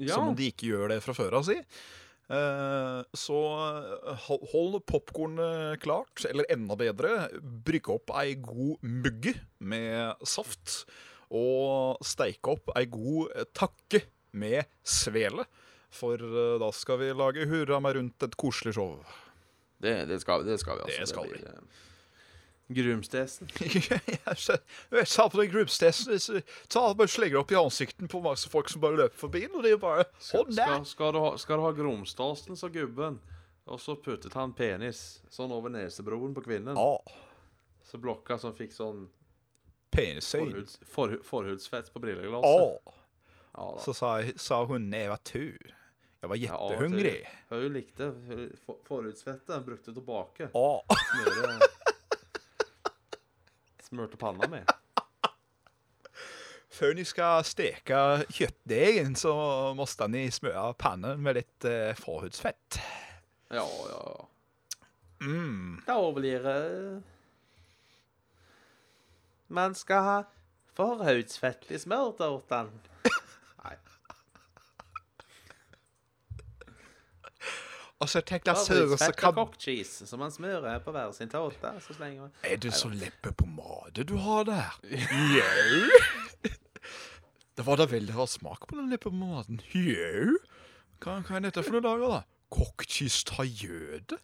[SPEAKER 3] som om de ikke gjør det fra før av, si. Eh, så eh, hol- hold popkornet klart, eller enda bedre, brygg opp ei god mugge med saft. Og steike opp ei god eh, takke med svele. For eh, da skal vi lage hurra meg rundt et koselig show.
[SPEAKER 2] Det, det, skal, det skal vi, altså.
[SPEAKER 3] Det skal vi.
[SPEAKER 2] blir, eh, Grumstesen.
[SPEAKER 3] jeg sa på den gruppestesten så ta og bare slenger opp i ansikten på masse folk som bare løper forbi. Og det er jo bare Å,
[SPEAKER 2] Skal,
[SPEAKER 3] nei!
[SPEAKER 2] skal, skal, du ha, skal du ha grumstasen, sa gubben. Og så puttet han penis sånn over nesebroren på kvinnen.
[SPEAKER 3] Ja,
[SPEAKER 2] Så blokka som fikk sånn
[SPEAKER 3] penisøyn.
[SPEAKER 2] forhuds, forhu- forhudsfett på
[SPEAKER 3] Å,
[SPEAKER 2] brilleglasset. Ja, da.
[SPEAKER 3] så sa, jeg- sa hun jeg var tur. Jeg var
[SPEAKER 2] Ja, og
[SPEAKER 3] jettehungrig.
[SPEAKER 2] Hun hun likte hun- for- forhudsfettet. Hun brukte tilbake.
[SPEAKER 3] Å,
[SPEAKER 2] Smøre, smørte panna med.
[SPEAKER 3] før ni skal steke kjøttdeigen, så måtte ni smøre pannen med litt eh, forhudsfett.
[SPEAKER 2] Ja, ja, ja.
[SPEAKER 3] Mm.
[SPEAKER 2] Da blir det Man skal ha forhudsfett i smørtorten. Nei.
[SPEAKER 3] Og så tek jeg sur, og så
[SPEAKER 2] Forhudsfett og
[SPEAKER 3] kan
[SPEAKER 2] kokt cheese som man smører på hver sin tåte. Så slenger man
[SPEAKER 3] Er det så leppepomade du har der? Jau. Det var da veldig rar smak på den leppepomaden. Jau. Hva, hva er dette for noen dager, da? Kokkist av jøde?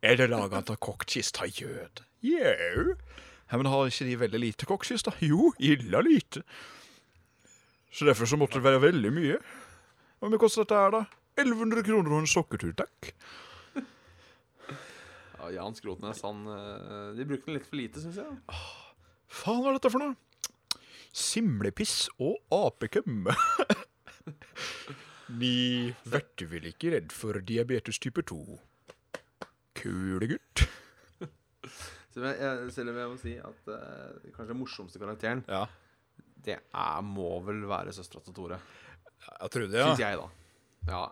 [SPEAKER 3] Er det laget av kokkist av jøde? Jau. Ja, men har ikke de veldig lite kokkist, da? Jo, illa lite. Så derfor så måtte det være veldig mye. Hvor mye koster dette her, da? 1100 kroner og en sokketur, takk.
[SPEAKER 2] Ja, Ja, Jan Skrotnes, han eh, De brukte den litt for lite, syns jeg.
[SPEAKER 3] Faen, hva er dette for noe? Simlepiss og apekøm. Ni vert vel ikke redd for diabetes type 2. Kulegutt.
[SPEAKER 2] Selv om jeg- jeg, selv om jeg må si at eh, kanskje den morsomste karakteren,
[SPEAKER 3] Ja,
[SPEAKER 2] det er, må vel være søstera til Tore.
[SPEAKER 3] jeg trodde
[SPEAKER 2] Syns
[SPEAKER 3] ja.
[SPEAKER 2] jeg, da. Ja.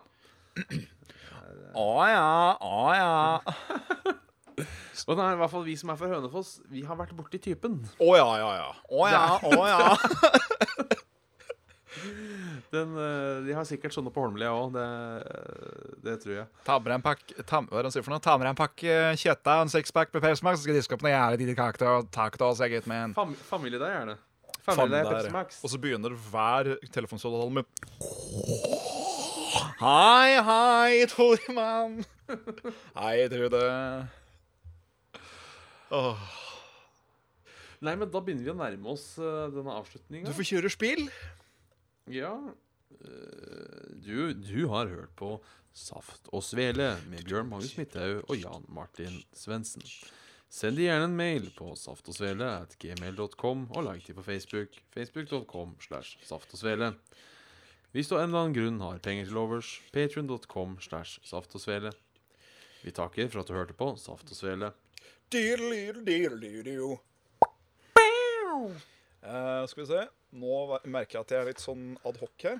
[SPEAKER 3] Å ja, å ja.
[SPEAKER 2] Og det er i hvert fall vi som er fra Hønefoss, vi har vært borti typen.
[SPEAKER 3] Å ja, ja, ja. Å ja, å ja.
[SPEAKER 2] Den, eh, de har sikkert sånne på Holmlia òg, det, det tror jeg.
[SPEAKER 3] Ta med deg en pakke ta, Hva er det han sier for noe? Ta med deg en pakke kjøttdeig og en sixpack med pepsmak, så skal jeg diske opp noen jævlig dine kaker tacos, jeg, gutt min.
[SPEAKER 2] Fam, familie deg, gjerne. Familie deg, Pepsi Max.
[SPEAKER 3] Og så begynner hver telefonsamtale med Hei, hei, Toremann. Hei, Trude. Åh,
[SPEAKER 2] Nei, men da begynner vi å nærme oss eh, denne avslutninga.
[SPEAKER 3] du får kjøre spill.
[SPEAKER 2] Ja eh, du, du har hørt på Saft og Svele med Bjørn Magnus Midthaug og Jan Martin Svendsen. Send de gjerne en mail på saftogsvele at gmail.com, og like de på Facebook. Facebook.com slash saftogsvele. Hvis du av en eller annen grunn har penger til overs, patrion.com slash saftogsvele. Vi takker for at du hørte på Saft og Svele.
[SPEAKER 3] Diddelididdelidio. Eh, skal vi se. Nå ver- merker jeg at jeg er litt sånn ad hoc her.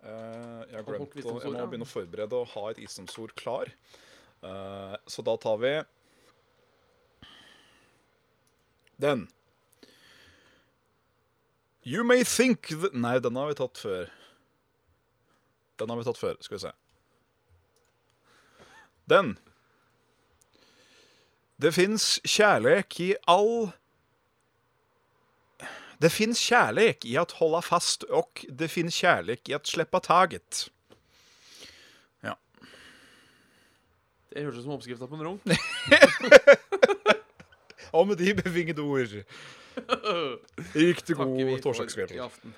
[SPEAKER 3] Eh, jeg, har
[SPEAKER 2] Ad hoc
[SPEAKER 3] glemt å, jeg
[SPEAKER 2] visdomsord, ja.
[SPEAKER 3] må begynne å forberede og ha et visdomsord klar. Eh, så da tar vi den. You may think th Nei, den har vi tatt før. Den har vi tatt før. Skal vi se. Den. Det fins kjærlek i all Det fins kjærlek i at holda fast, og det fins kjærlek i at sleppa taget.
[SPEAKER 2] Det høres ut som oppskrifta på en runk.
[SPEAKER 3] Og med de bevingede ord Riktig
[SPEAKER 2] Takker
[SPEAKER 3] god
[SPEAKER 2] vi for
[SPEAKER 3] torsdagskveld.
[SPEAKER 2] i aften.